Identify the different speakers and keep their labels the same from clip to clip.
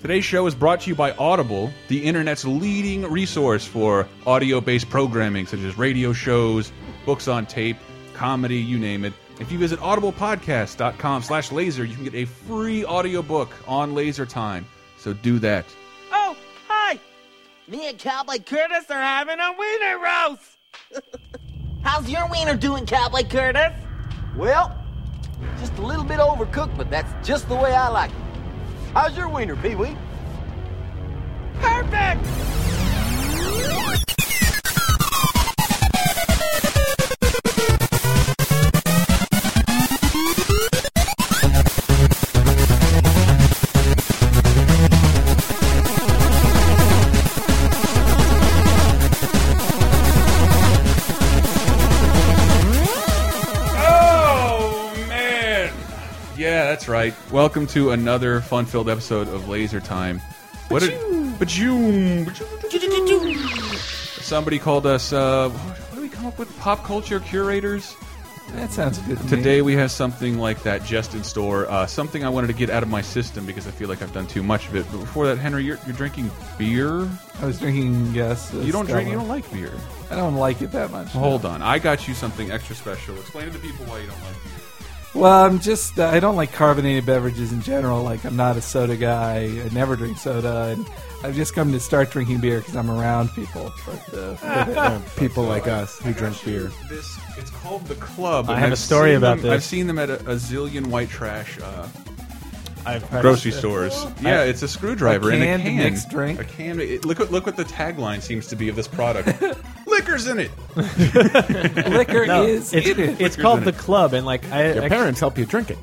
Speaker 1: Today's show is brought to you by Audible, the internet's leading resource for audio based programming, such as radio shows, books on tape, comedy, you name it. If you visit audiblepodcast.com slash laser, you can get a free audiobook on laser time. So do that.
Speaker 2: Oh, hi! Me and Cowboy Curtis are having a wiener roast! How's your wiener doing, Cowboy Curtis?
Speaker 3: Well, just a little bit overcooked, but that's just the way I like it. How's your wiener, Pee Wee?
Speaker 2: Perfect!
Speaker 1: Oh, man. Yeah, that's right. Welcome to another fun filled episode of Laser Time. What a, but you. Somebody called us, uh, what what do we come up with? Pop culture curators?
Speaker 4: That sounds good. To me.
Speaker 1: Today we have something like that just in store. Uh, something I wanted to get out of my system because I feel like I've done too much of it. But before that, Henry, you're, you're drinking beer.
Speaker 4: I was drinking. Yes, uh,
Speaker 1: You don't drink. You don't like beer.
Speaker 4: I don't like it that much.
Speaker 1: Hold on, I got you something extra special. Explain to the people why you don't like beer.
Speaker 4: Well, I'm just. uh, I don't like carbonated beverages in general. Like I'm not a soda guy. I never drink soda, and I've just come to start drinking beer because I'm around people. But, uh,
Speaker 5: people like us who drink beer.
Speaker 1: This it's called the club.
Speaker 6: I
Speaker 1: and
Speaker 6: have a
Speaker 1: I've
Speaker 6: story
Speaker 1: seen
Speaker 6: about
Speaker 1: them- I've
Speaker 6: this.
Speaker 1: seen them at a, a zillion white trash uh,
Speaker 6: I've
Speaker 1: grocery stores. Yeah, it's a screwdriver
Speaker 4: A
Speaker 1: in a
Speaker 4: canned
Speaker 1: can.
Speaker 4: mixed drink?
Speaker 1: A can. It, look, look what the tagline seems to be of this product. Liquor's in it.
Speaker 4: liquor
Speaker 6: No,
Speaker 4: is
Speaker 6: it's,
Speaker 4: in it.
Speaker 6: it's called the club, and like I,
Speaker 5: Your
Speaker 6: I,
Speaker 5: parents help you drink it.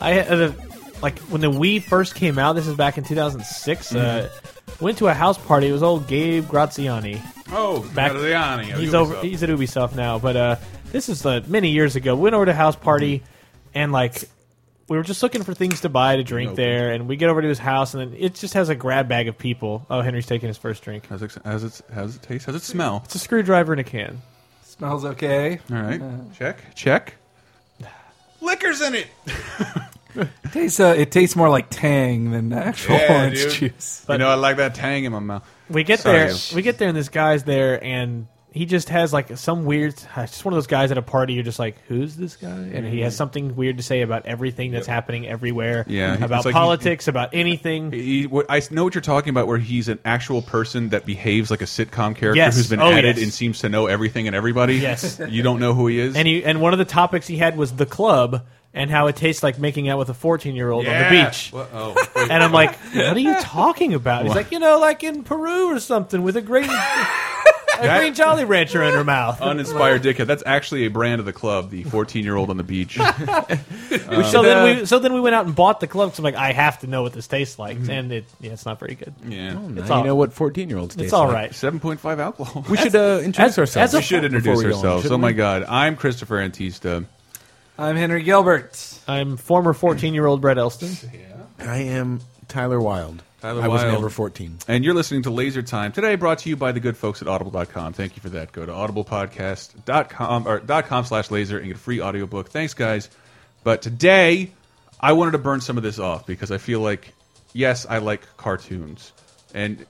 Speaker 6: I had a, like when the Wii first came out. This is back in 2006. Uh, went to a house party. It was old Gabe Graziani.
Speaker 1: Oh,
Speaker 6: Back-
Speaker 1: Mariani, oh,
Speaker 6: he's
Speaker 1: you
Speaker 6: over.
Speaker 1: was up.
Speaker 6: He's at Ubisoft now, but uh, this is uh, many years ago. Went over to a house party, and like we were just looking for things to buy to drink
Speaker 1: Nope.
Speaker 6: there. And we get over to his house, and then it just has a grab bag of people. Oh, Henry's taking his first drink.
Speaker 1: How's it, how's it? How's it taste? How's it smell?
Speaker 6: It's a screwdriver in a can.
Speaker 4: smells okay.
Speaker 1: All right.
Speaker 6: Uh.
Speaker 1: check. Check. Liquor's in it.
Speaker 4: Tastes. Uh, it tastes more like Tang than actual
Speaker 1: Yeah,
Speaker 4: orange
Speaker 1: dude.
Speaker 4: juice.
Speaker 1: you know, I like that tang in my mouth.
Speaker 6: We get
Speaker 1: Sorry.
Speaker 6: there. We get there, and this guy's there, and he just has like some weird. uh, Just one of those guys at a party. You're just like, who's this guy? And he has something weird to say about everything that's happening everywhere.
Speaker 1: Mm. Yeah, he-
Speaker 6: about
Speaker 1: it's like he-
Speaker 6: politics, about anything.
Speaker 1: He, what, I know what you're talking about, where he's an actual person that behaves like a sitcom character
Speaker 6: Yes.
Speaker 1: who's been
Speaker 6: Oh,
Speaker 1: added
Speaker 6: yes.
Speaker 1: and seems to know everything and everybody.
Speaker 6: Yes.
Speaker 1: you don't know who he is.
Speaker 6: And he and one of the topics he had was the club and how it tastes like making out with a 14 year old on the
Speaker 1: Yeah.
Speaker 6: beach.
Speaker 1: Well, oh, wait.
Speaker 6: And I'm like, what are you talking about? He's like, you know, like in Peru or something with a green, a green Jolly Rancher in her mouth.
Speaker 1: Oh, uninspired dickhead. That's actually a brand of the club. The 14 year old on the beach. Um,
Speaker 6: so then we so then we went out and bought the club. 'cause I'm like, I have to know what this tastes like, and it yeah, it's not very good.
Speaker 1: Mm-hmm. yeah,
Speaker 6: It's
Speaker 5: Now
Speaker 6: all,
Speaker 5: you know what 14 year olds
Speaker 6: it's all right.
Speaker 1: 7.5 alcohol.
Speaker 5: We should uh, introduce
Speaker 6: as- as
Speaker 5: ourselves.
Speaker 6: a-
Speaker 1: We should introduce
Speaker 5: Before we go on,
Speaker 1: ourselves. oh
Speaker 5: shouldn't
Speaker 1: my
Speaker 5: we?
Speaker 1: god, I'm Christopher Antista.
Speaker 4: I'm Henry Gilbert.
Speaker 6: I'm former 14 year old Brett Elston.
Speaker 5: I am Tyler Wild.
Speaker 1: Tyler
Speaker 5: I was
Speaker 1: Wilde.
Speaker 5: never 14.
Speaker 1: And you're listening to Laser Time today, brought to you by the good folks at Audible.com. Thank you for that. Go to audiblepodcast.com or dot .com slash laser and get a free audiobook. Thanks, guys. But today, I wanted to burn some of this off because I feel like, yes, I like cartoons, and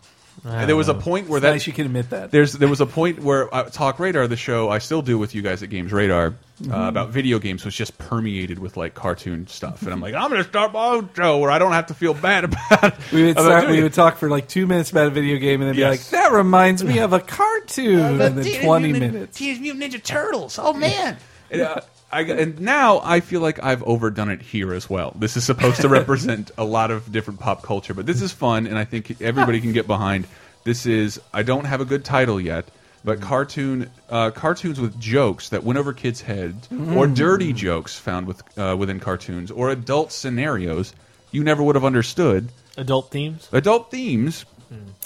Speaker 1: there was a point where that
Speaker 4: nice you can admit that.
Speaker 1: there's there was a point where uh, Talk Radar, the show I still do with you guys at Games Radar
Speaker 4: Mm-hmm.
Speaker 1: uh, about video games, was just permeated with like cartoon stuff, and I'm like, I'm gonna start my own show where I don't have to feel bad about.
Speaker 4: We would
Speaker 1: about
Speaker 4: start,
Speaker 1: doing
Speaker 4: we
Speaker 1: it.
Speaker 4: would talk for like two minutes about a video game and then
Speaker 1: Yes.
Speaker 4: be like, "That reminds me of a cartoon," and then twenty minutes.
Speaker 1: Teenage Mutant Ninja Turtles. Oh man. and, uh, I, and now I feel like I've overdone it here as well. This is supposed to represent a lot of different pop culture, but this is fun, and I think everybody can get behind. This is I don't have a good title yet, but cartoon uh, cartoons with jokes that went over kids' heads, or dirty jokes found with uh, within cartoons, or adult scenarios you never would have understood
Speaker 6: Adult themes.
Speaker 1: adult themes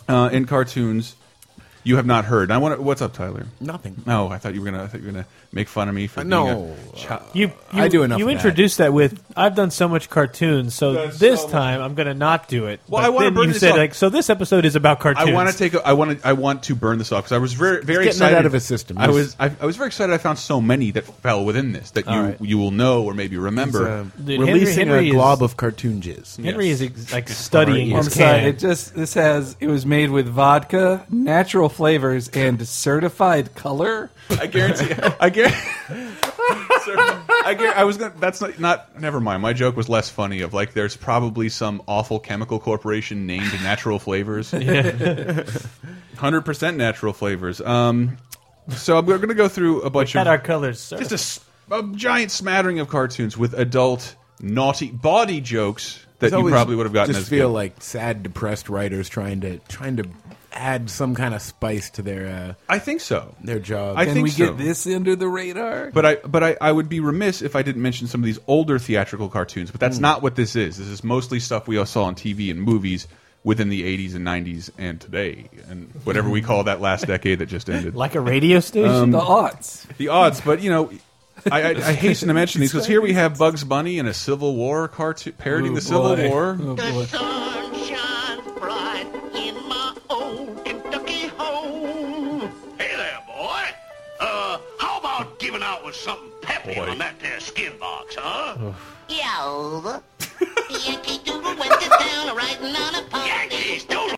Speaker 1: uh, in cartoons. you have not heard. I want to, what's up, Tyler?
Speaker 5: Nothing.
Speaker 1: No, I thought you were gonna. I thought you were gonna make fun of me for
Speaker 5: Uh,
Speaker 1: being
Speaker 5: no. Uh,
Speaker 1: a chi-
Speaker 6: You, you
Speaker 5: I do enough
Speaker 6: You
Speaker 5: of that.
Speaker 6: introduced that. with I've done so much cartoons, so
Speaker 1: That's
Speaker 6: this
Speaker 1: so much.
Speaker 6: time I'm going to not do it.
Speaker 1: Well,
Speaker 6: But
Speaker 1: I wanna
Speaker 6: then
Speaker 1: burn
Speaker 6: you
Speaker 1: this
Speaker 6: said
Speaker 1: off.
Speaker 6: like so this episode is about cartoons.
Speaker 1: I want to take. A, I want to. I want to burn this off because I was very, very
Speaker 5: getting that
Speaker 1: excited
Speaker 5: out of his system.
Speaker 1: I
Speaker 5: Yes.
Speaker 1: was. I, I was very excited. I found so many that fell within this that you
Speaker 4: right.
Speaker 1: you will know or maybe remember.
Speaker 5: uh,
Speaker 6: Dude, Henry-
Speaker 5: um, releasing
Speaker 6: Henry
Speaker 5: a
Speaker 6: is-
Speaker 5: glob of cartoon jizz.
Speaker 6: Henry is ex- like studying
Speaker 4: I'm
Speaker 6: his
Speaker 4: sorry.
Speaker 6: can.
Speaker 4: It just this has it was made with vodka, natural flavors, and certified color.
Speaker 1: I guarantee. I guarantee. I, guar- I was gonna. That's not, not. Never mind. My joke was less funny. Of like, there's probably some awful chemical corporation named Natural Flavors. Hundred percent natural flavors. Um, so I'm gonna go through a bunch
Speaker 6: Had
Speaker 1: of
Speaker 6: our colors, sir.
Speaker 1: just a s- a, giant smattering of cartoons with adult naughty body jokes that
Speaker 5: It's
Speaker 1: you
Speaker 5: always
Speaker 1: probably would have gotten
Speaker 5: Just
Speaker 1: as
Speaker 5: feel
Speaker 1: good.
Speaker 5: like sad, depressed writers trying to trying to add some kind of spice to their uh,
Speaker 1: I think so.
Speaker 5: their job.
Speaker 1: I
Speaker 4: Can
Speaker 1: think
Speaker 4: we
Speaker 1: so.
Speaker 4: get this under the radar?
Speaker 1: But I but I, I would be remiss if I didn't mention some of these older theatrical cartoons. But that's not what this is. This is mostly stuff we all saw on TV and movies within the 80s and 90s and today and whatever we call that last decade that just ended.
Speaker 6: like a radio station.
Speaker 1: Um,
Speaker 4: the aughts.
Speaker 1: the odds, but you know. I, I, I hasten to mention these because here we have Bugs Bunny in a Civil War cartoon parodying the Civil
Speaker 4: Oh, boy.
Speaker 1: War.
Speaker 4: Oh,
Speaker 7: The
Speaker 4: boy.
Speaker 7: sun shines bright in my old Kentucky home. Hey there, boy. Uh, how about giving out with something peppy
Speaker 1: Boy.
Speaker 7: on that there skin box, huh?
Speaker 2: Yo, the Yankee Doodle went to town riding on a pony.
Speaker 7: Yankees, don't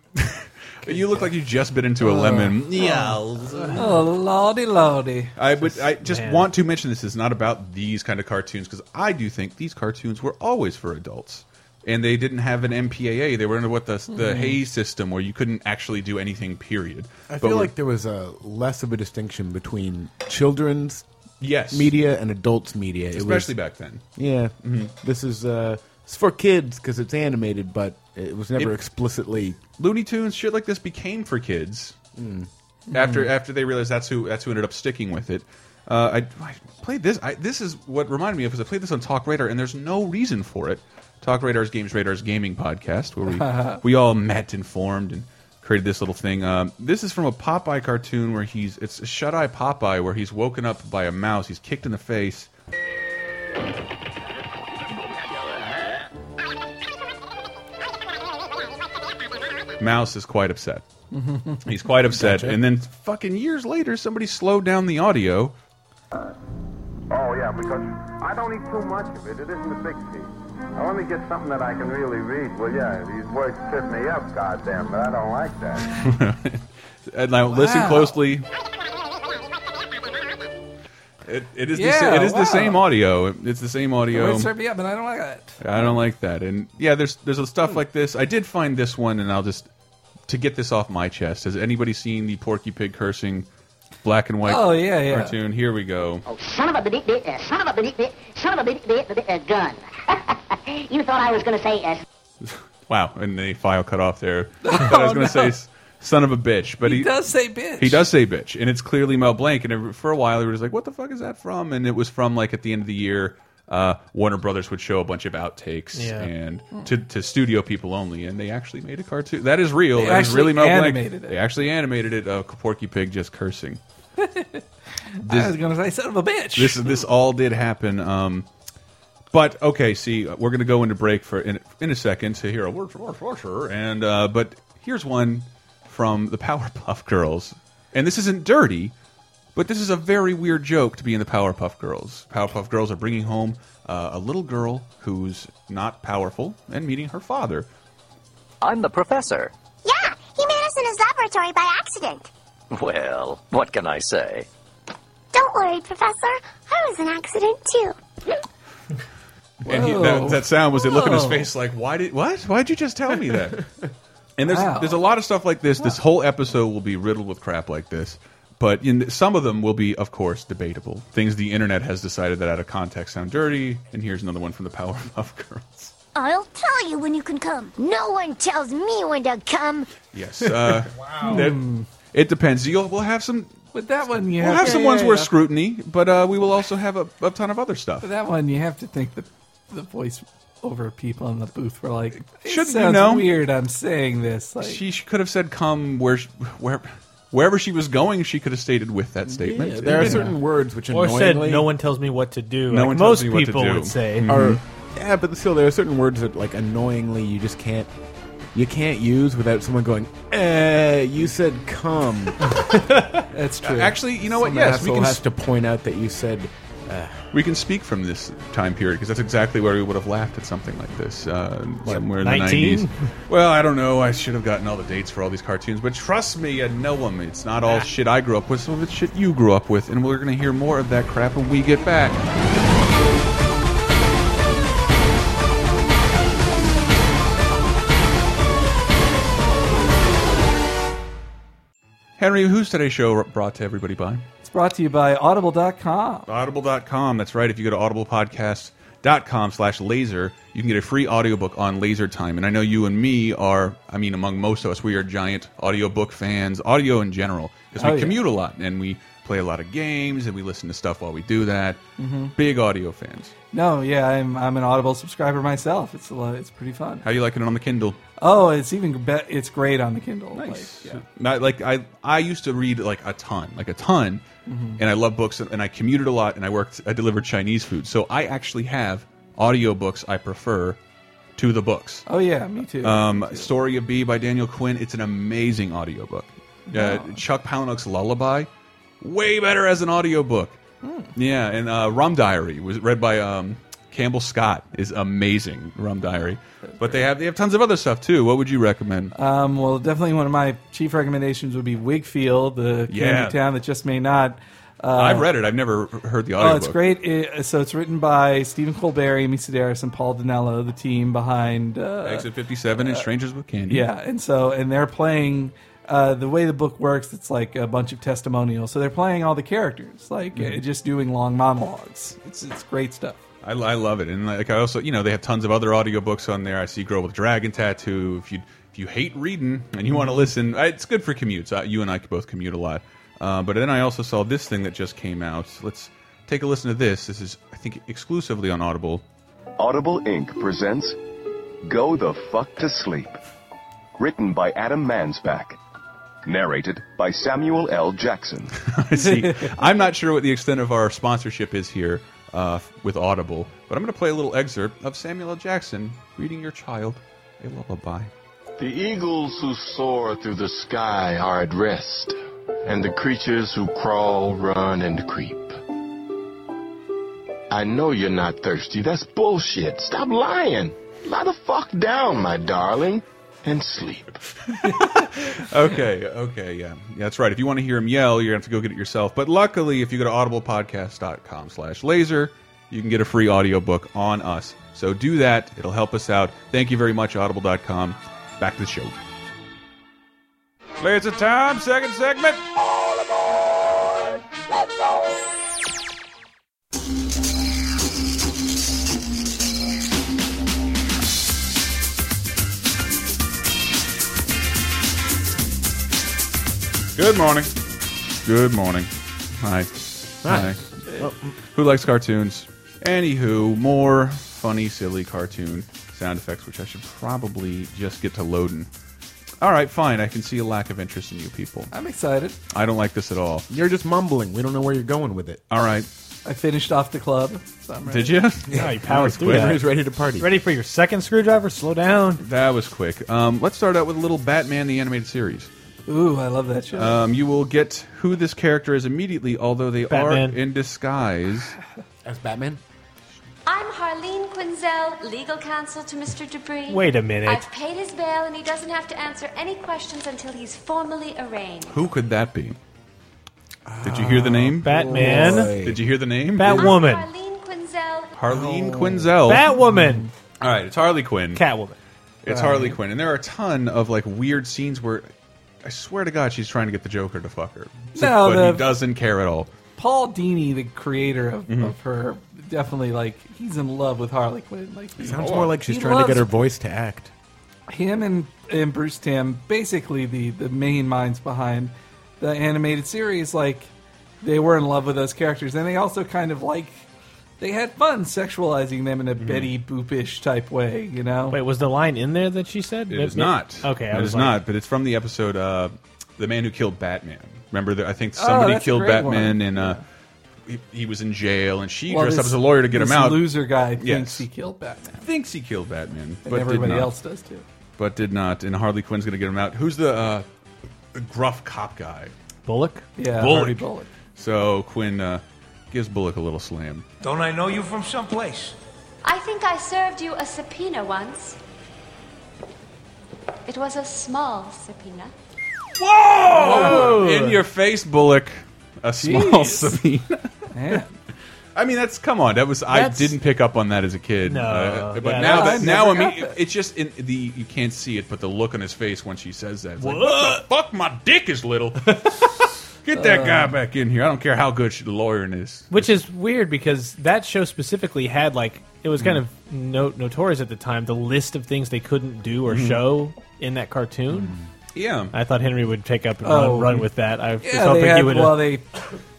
Speaker 1: You look like you just bit into a lemon.
Speaker 4: Oh lordy lordy.
Speaker 1: I would. I just want to mention this is not about these kind of cartoons because I do think these cartoons were always for adults, and they didn't have an MPAA. They were under what the the Hayes system where you couldn't actually do anything. Period.
Speaker 5: I
Speaker 1: But
Speaker 5: feel
Speaker 1: we're-
Speaker 5: like there was a less of a distinction between children's
Speaker 1: yes,
Speaker 5: media and adults media, It was-
Speaker 1: especially Mm-hmm. back then.
Speaker 5: Yeah, this is uh, it's for kids because it's animated, but it was never
Speaker 1: It-
Speaker 5: explicitly.
Speaker 1: Looney Tunes shit like this became for kids. After after they realized that's who that's who ended up sticking with it. Uh, I, I played this. I, this is what reminded me of because I played this on Talk Radar, and there's no reason for it. Talk Radar's Games Radar's gaming podcast, where we we all met and formed and created this little thing. Um, this is from a Popeye cartoon where he's it's a shut eye Popeye where he's woken up by a mouse. He's kicked in the face. Mouse is quite upset. He's quite upset, and then fucking years later, somebody slowed down the audio.
Speaker 8: Oh, yeah, because I don't eat too much of it. It isn't a big piece. Now, let me get something that I can really read. Well, yeah, these words trip me up, goddamn, but I don't like that.
Speaker 1: And now listen
Speaker 4: Wow.
Speaker 1: closely. It, it is the, sa-
Speaker 4: Yeah,
Speaker 1: it is the
Speaker 4: wow.
Speaker 1: same audio. It's the same audio.
Speaker 4: Wait, sir, but yeah, but I don't like that.
Speaker 1: I don't like that. And yeah, there's there's
Speaker 4: Hmm.
Speaker 1: stuff like this. I did find this one, and I'll just to get this off my chest. Has anybody seen the Porky Pig cursing black and white?
Speaker 4: Oh, yeah, yeah. Oh.
Speaker 1: Cartoon. Here we go.
Speaker 9: Son of a bit, bit, uh, son of a bit, bit, son of a bit, bit, bit, uh, gun. you thought I was going to say uh,
Speaker 1: Wow, and the file cut off there. But I was going to say s- son of a bitch, but he,
Speaker 4: Oh, He does say bitch.
Speaker 1: He does say bitch, and it's clearly Mel Blanc. And it- for a while, he was like, "What the fuck is that from?" And it was from like at the end of the year, uh, Warner Brothers would show a bunch of outtakes
Speaker 6: Yeah.
Speaker 1: and to, to studio people only, and they actually made a cartoon that is real.
Speaker 4: They
Speaker 1: That is
Speaker 4: actually
Speaker 1: really Mel Blanc.
Speaker 4: animated it.
Speaker 1: They actually animated it. Uh, Porky Pig just cursing.
Speaker 4: I was gonna say son of a bitch.
Speaker 1: This this all did happen. Um, but okay, see, we're gonna go into break for in, in a second to hear a word from our sorcerer, and uh, but here's one from the Powerpuff Girls, and this isn't dirty, but this is a very weird joke to be in the Powerpuff Girls. Powerpuff Girls are bringing home uh, a little girl who's not powerful and meeting her father.
Speaker 10: I'm the professor.
Speaker 11: Yeah, he made us in his laboratory by accident.
Speaker 10: Well, what can I say?
Speaker 11: Don't worry, Professor. I was an accident, too.
Speaker 1: And he,
Speaker 4: Whoa.
Speaker 1: that, that sound was the look on his
Speaker 4: Whoa.
Speaker 1: face like, why did what? Why'd you just tell me that? And there's
Speaker 4: Wow.
Speaker 1: there's a lot of stuff like this. This whole episode will be riddled with crap like this. But in, some of them will be, of course, debatable. Things the internet has decided that out of context sound dirty. And here's another one from the Powerpuff Girls.
Speaker 11: I'll tell you when you can come. No one tells me when to come.
Speaker 1: Yes. Uh, wow. it depends. You'll, we'll have some.
Speaker 4: With that one, you
Speaker 1: We'll
Speaker 4: have
Speaker 1: have
Speaker 4: to-
Speaker 1: some ones
Speaker 4: yeah,
Speaker 1: worth
Speaker 4: yeah.
Speaker 1: scrutiny, but uh, we will also have a, a ton of other stuff.
Speaker 4: That one, you have to think the the voice over people in the booth were like, it
Speaker 1: Shouldn't you
Speaker 4: sounds
Speaker 1: know?
Speaker 4: weird. I'm saying this. Like,
Speaker 1: She sh- could have said, "Come where, sh- where." Wherever she was going, she could have stated with that statement.
Speaker 5: Yeah, there are
Speaker 1: Yeah.
Speaker 5: certain words which
Speaker 6: Or said,
Speaker 5: annoyingly
Speaker 6: "No one tells me what to do."
Speaker 1: No
Speaker 6: like
Speaker 1: one tells
Speaker 6: most
Speaker 1: me what to
Speaker 6: people
Speaker 1: do. Mm.
Speaker 6: would say.
Speaker 5: Are, yeah, but still, there are certain words that like annoyingly you just can't you can't use without someone going, "Eh, you said come."
Speaker 4: That's
Speaker 1: true. Actually, you know what?
Speaker 5: Some
Speaker 1: Yes, we
Speaker 5: asshole
Speaker 1: can
Speaker 5: has
Speaker 1: s-
Speaker 5: to point out that you said. Uh,
Speaker 1: We can speak from this time period because that's exactly where we would have laughed at something like this uh, somewhere in the
Speaker 6: 19?
Speaker 1: nineties. Well, I don't know. I should have gotten all the dates for all these cartoons, but trust me, I know them. It's not all shit I grew up with. Some of it's shit you grew up with, and we're gonna hear more of that crap when we get back. Henry, who's today's show brought to everybody by?
Speaker 4: It's brought to you by Audible.com.
Speaker 1: Audible.com. That's right. If you go to audiblepodcast.com slash laser, you can get a free audiobook on laser time. And I know you and me are, I mean, among most of us, we are giant audiobook fans, audio in general, because we
Speaker 4: Oh, yeah.
Speaker 1: commute a lot and we play a lot of games and we listen to stuff while we do that.
Speaker 4: Mhm.
Speaker 1: Big audio fans.
Speaker 4: No, yeah, I'm I'm an Audible subscriber myself. It's a lot, it's pretty fun.
Speaker 1: How you liking it on the Kindle?
Speaker 4: Oh, it's even be- it's great on the Kindle. Nice.
Speaker 1: Not- like I, I used to read like a ton, like a ton,
Speaker 4: Mhm.
Speaker 1: and I love books, and I commuted a lot, and I worked, I delivered Chinese food, so I actually have audiobooks I prefer to the books.
Speaker 4: oh yeah, me too.
Speaker 1: Um, Story of Bee by Daniel Quinn. It's an amazing audiobook. Uh, Chuck Palahniuk's Lullaby, way better as an audiobook.
Speaker 4: Hmm.
Speaker 1: Yeah, and uh, Rum Diary was read by um, Campbell Scott is amazing. Rum Diary, but they have they have tons of other stuff too. What would you recommend?
Speaker 4: Um, well, definitely one of my chief recommendations would be Wigfield, the candy
Speaker 1: Yeah.
Speaker 4: town that just may not. Uh,
Speaker 1: I've read it. I've never heard the
Speaker 4: Oh,
Speaker 1: audiobook.
Speaker 4: it's great. It, so it's written by Stephen Colbert, Amy Sedaris, and Paul Danello, the team behind uh,
Speaker 1: Exit 57 and Strangers with Candy.
Speaker 4: Yeah, and so and they're playing. Uh, the way the book works, it's like a bunch of testimonials. So they're playing all the characters, like
Speaker 1: Mhm.
Speaker 4: uh, just doing long monologues. It's it's great stuff.
Speaker 1: I, I love it, and like I also, you know, they have tons of other audiobooks on there. I see "Girl with Dragon Tattoo." If you if you hate reading and you want to listen, uh, it's good for commutes. Uh, you and I could both commute a lot. Uh, but then I also saw this thing that just came out. Let's take a listen to this. This is, I think, exclusively on Audible.
Speaker 12: Audible Inc. presents Go the Fuck to Sleep. Written by Adam Mansbach. Narrated by Samuel L. Jackson.
Speaker 1: I see. I'm not sure what the extent of our sponsorship is here uh, with Audible, but I'm going to play a little excerpt of Samuel L. Jackson reading your child a lullaby.
Speaker 13: The eagles who soar through the sky are at rest, and the creatures who crawl, run, and creep. I know you're not thirsty. That's bullshit. Stop lying. Lie the fuck down, my darling, and sleep.
Speaker 1: okay, okay, yeah. yeah. That's right. If you want to hear him yell, you're going to have to go get it yourself. But luckily, if you go to audiblepodcast.com slash laser, you can get a free audiobook on us. So do that. It'll help us out. Thank you very much, audible.com. Back to the show. Laser time, second segment. Good morning. Good morning. Hi. Hi.
Speaker 5: Hi.
Speaker 1: Who likes cartoons? Anywho, more funny, silly cartoon sound effects, which I should probably just get to loading. All right, fine. I can see a lack of interest in you people.
Speaker 4: I'm excited.
Speaker 1: I don't like this at all.
Speaker 5: You're just mumbling. We don't know where you're going with it.
Speaker 1: All right.
Speaker 4: I finished off the club. so I'm
Speaker 1: Did
Speaker 4: ready.
Speaker 1: you?
Speaker 6: No, you powered through that. Ready for your second screwdriver? Slow down.
Speaker 1: That was quick. Um, let's start out with a little Batman the Animated Series.
Speaker 4: Ooh, I love that show.
Speaker 1: Um, you will get who this character is immediately, although they
Speaker 4: Batman.
Speaker 1: are in disguise.
Speaker 5: As Batman?
Speaker 14: I'm Harlene Quinzel, legal counsel to Mr. Debris.
Speaker 1: Wait a minute.
Speaker 14: I've paid his bail, and he doesn't have to answer any questions until he's formally arraigned.
Speaker 1: Who could that be? Did you hear the name?
Speaker 6: Batman. boy.
Speaker 1: Did you hear the name?
Speaker 6: Batwoman.
Speaker 14: Harlene Quinzel.
Speaker 1: Harleen Quinzel.
Speaker 6: Batwoman.
Speaker 1: All right, it's Harley Quinn.
Speaker 6: Catwoman.
Speaker 1: It's
Speaker 6: Right.
Speaker 1: Harley Quinn, and there are a ton of like weird scenes where I swear to God she's trying to get the Joker to fuck her,
Speaker 4: No,
Speaker 1: but
Speaker 4: the-
Speaker 1: he doesn't care at all.
Speaker 4: Paul Dini, the creator of,
Speaker 1: Mhm.
Speaker 4: of her, definitely like he's in love with Harley Quinn. Like he-
Speaker 1: Oh,
Speaker 5: Sounds more like she's
Speaker 4: he
Speaker 5: trying to get her
Speaker 4: loves
Speaker 5: voice to act.
Speaker 4: Him and and Bruce Tim, basically the the main minds behind the animated series. Like they were in love with those characters, and they also kind of like they had fun sexualizing them in
Speaker 1: Mm-hmm.
Speaker 4: a Betty Boopish type way. You know.
Speaker 6: Wait, was the line in there that she said?
Speaker 1: It is not.
Speaker 6: Okay, I
Speaker 1: it
Speaker 6: was
Speaker 1: is
Speaker 6: like-
Speaker 1: not. But it's from the episode. Uh, the man who killed Batman. Remember, that I think
Speaker 4: Oh,
Speaker 1: somebody
Speaker 4: that's a
Speaker 1: killed
Speaker 4: great
Speaker 1: Batman and uh, he, he was in jail, and she
Speaker 4: Well,
Speaker 1: dressed up
Speaker 4: this-
Speaker 1: as a lawyer to get him
Speaker 4: this
Speaker 1: out.
Speaker 4: loser guy
Speaker 1: Yes.
Speaker 4: thinks he killed Batman.
Speaker 1: Thinks he killed Batman,
Speaker 4: And
Speaker 1: but did
Speaker 4: everybody
Speaker 1: not.
Speaker 4: else does too.
Speaker 1: but did not. And Harley Quinn's going to get him out. Who's the, uh, the gruff cop guy?
Speaker 6: Bullock.
Speaker 4: Yeah, Harvey
Speaker 1: Bullock.
Speaker 4: Bullock.
Speaker 1: So Quinn uh, gives Bullock a little slam.
Speaker 15: Don't I know you from someplace?
Speaker 14: I think I served you a subpoena once. It was a small subpoena.
Speaker 4: Uh.
Speaker 1: Whoa!
Speaker 6: Oh.
Speaker 1: In your face, Bullock. A small
Speaker 6: Jeez.
Speaker 1: subpoena. I mean, that's come on. That was
Speaker 6: That's-
Speaker 1: I didn't pick up on that as a kid.
Speaker 6: No.
Speaker 1: Uh, but
Speaker 6: Yeah,
Speaker 1: now
Speaker 6: that's-
Speaker 1: that
Speaker 6: I
Speaker 1: now I
Speaker 6: never
Speaker 1: mean, it's just in the you can't see it, but the look on his face when she says that. It's like,
Speaker 6: What?
Speaker 1: what the fuck? My dick is little. Get that
Speaker 4: Uh.
Speaker 1: guy back in here. I don't care how good she, the lawyer is.
Speaker 6: Which is weird because that show specifically had like it was kind of no, notorious at the time the list of things they couldn't do or
Speaker 1: Mhm.
Speaker 6: show in that cartoon.
Speaker 1: Mm-hmm. Yeah,
Speaker 6: I thought Henry would take up and
Speaker 4: Oh.
Speaker 6: run, run with that. I was
Speaker 4: Yeah,
Speaker 6: hoping
Speaker 4: they
Speaker 6: he
Speaker 4: had,
Speaker 6: would.
Speaker 4: well, they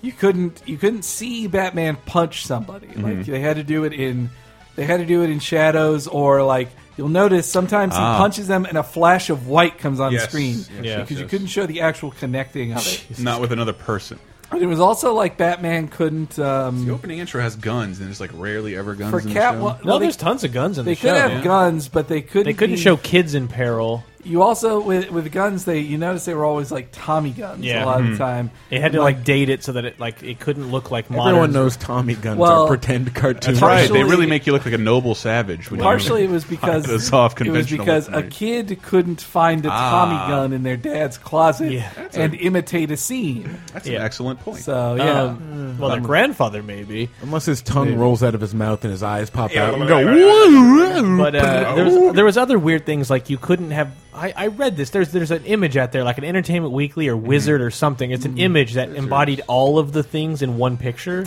Speaker 4: you couldn't you couldn't see Batman punch somebody. Like
Speaker 6: Mhm.
Speaker 4: they had to do it in they had to do it in shadows or like you'll notice sometimes
Speaker 6: Ah.
Speaker 4: he punches them and a flash of white comes on
Speaker 1: Yes,
Speaker 4: screen
Speaker 1: yes,
Speaker 4: because
Speaker 1: yes,
Speaker 4: you
Speaker 1: yes.
Speaker 4: couldn't show the actual connecting of it.
Speaker 1: Not with another person.
Speaker 4: And it was also like Batman couldn't um,
Speaker 1: The opening intro has guns, and it's like rarely ever guns.
Speaker 4: for
Speaker 1: in the
Speaker 4: Cat.
Speaker 1: show.
Speaker 4: well,
Speaker 6: No,
Speaker 4: well, they-
Speaker 6: there's tons of guns in
Speaker 4: They
Speaker 6: the
Speaker 4: could
Speaker 6: show.
Speaker 4: have
Speaker 6: Yeah.
Speaker 4: guns, but they couldn't.
Speaker 6: they couldn't
Speaker 4: be-
Speaker 6: show kids in peril.
Speaker 4: You also with with guns, they you notice they were always like Tommy guns a lot of the time.
Speaker 6: Mm-hmm. It had to
Speaker 4: And,
Speaker 6: like date it so that it like it couldn't look like modern.
Speaker 5: Everyone knows Tommy guns
Speaker 4: Well,
Speaker 5: are pretend cartoons.
Speaker 1: That's right. They really make you look like a noble savage. When
Speaker 4: Partially,
Speaker 1: you
Speaker 4: it was because
Speaker 1: it's off
Speaker 4: it was
Speaker 1: conventional
Speaker 4: because a
Speaker 1: weaponry.
Speaker 4: kid couldn't find a
Speaker 1: Ah.
Speaker 4: Tommy gun in their dad's closet
Speaker 6: Yeah.
Speaker 1: That's
Speaker 4: and
Speaker 1: a-
Speaker 4: imitate a scene.
Speaker 1: That's an excellent point.
Speaker 4: So yeah,
Speaker 6: Um, well, their grandfather maybe.
Speaker 5: Oh, Unless his tongue
Speaker 6: Yeah.
Speaker 5: rolls out of his mouth and his eyes pop
Speaker 6: Yeah.
Speaker 5: out and go. "Woo!"
Speaker 6: But uh, there, was, there was other weird things like you couldn't have. I, I read this. There's there's an image out there like an Entertainment Weekly
Speaker 5: Mm-hmm.
Speaker 6: or Wizard or something. It's an image that embodied all of the things in one picture.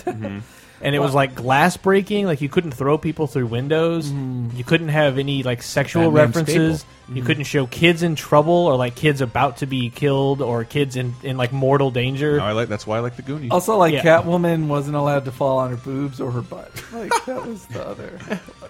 Speaker 6: And it was like glass breaking, like you couldn't throw people through windows.
Speaker 5: Mm-hmm.
Speaker 6: You couldn't have any like sexual
Speaker 5: Batman
Speaker 6: references.
Speaker 5: staple.
Speaker 6: You
Speaker 5: Mhm.
Speaker 6: couldn't show kids in trouble or like kids about to be killed or kids in, in like mortal danger.
Speaker 1: I like that's why I like the Goonies.
Speaker 4: also like
Speaker 6: Yeah.
Speaker 4: Catwoman wasn't allowed to fall on her boobs or her butt. Like that was the other.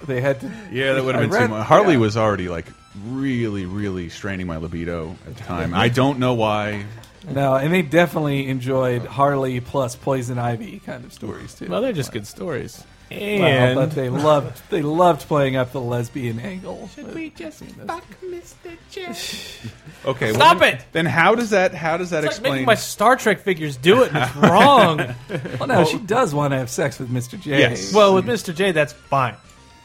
Speaker 4: They had to.
Speaker 1: Yeah, that would have
Speaker 4: I
Speaker 1: been too
Speaker 4: read-
Speaker 1: much. Harley
Speaker 4: yeah.
Speaker 1: was already like really, really straining my libido at the time. I don't know why.
Speaker 4: No, and they definitely enjoyed Harley plus Poison Ivy kind of stories too.
Speaker 6: Well, they're just good stories.
Speaker 4: Well,
Speaker 6: And
Speaker 4: but they loved they loved playing up the lesbian angle.
Speaker 5: Should we just fuck Mr. Jeff?
Speaker 1: Okay,
Speaker 6: Stop
Speaker 1: then-
Speaker 6: it!
Speaker 1: Then how does that? How does that
Speaker 6: It's like
Speaker 1: explain?
Speaker 6: making my Star Trek figures do it. And it's wrong.
Speaker 4: Well, no, she does want to have sex with Mr. J.
Speaker 1: Yes.
Speaker 6: Well, with Mr. J, that's fine.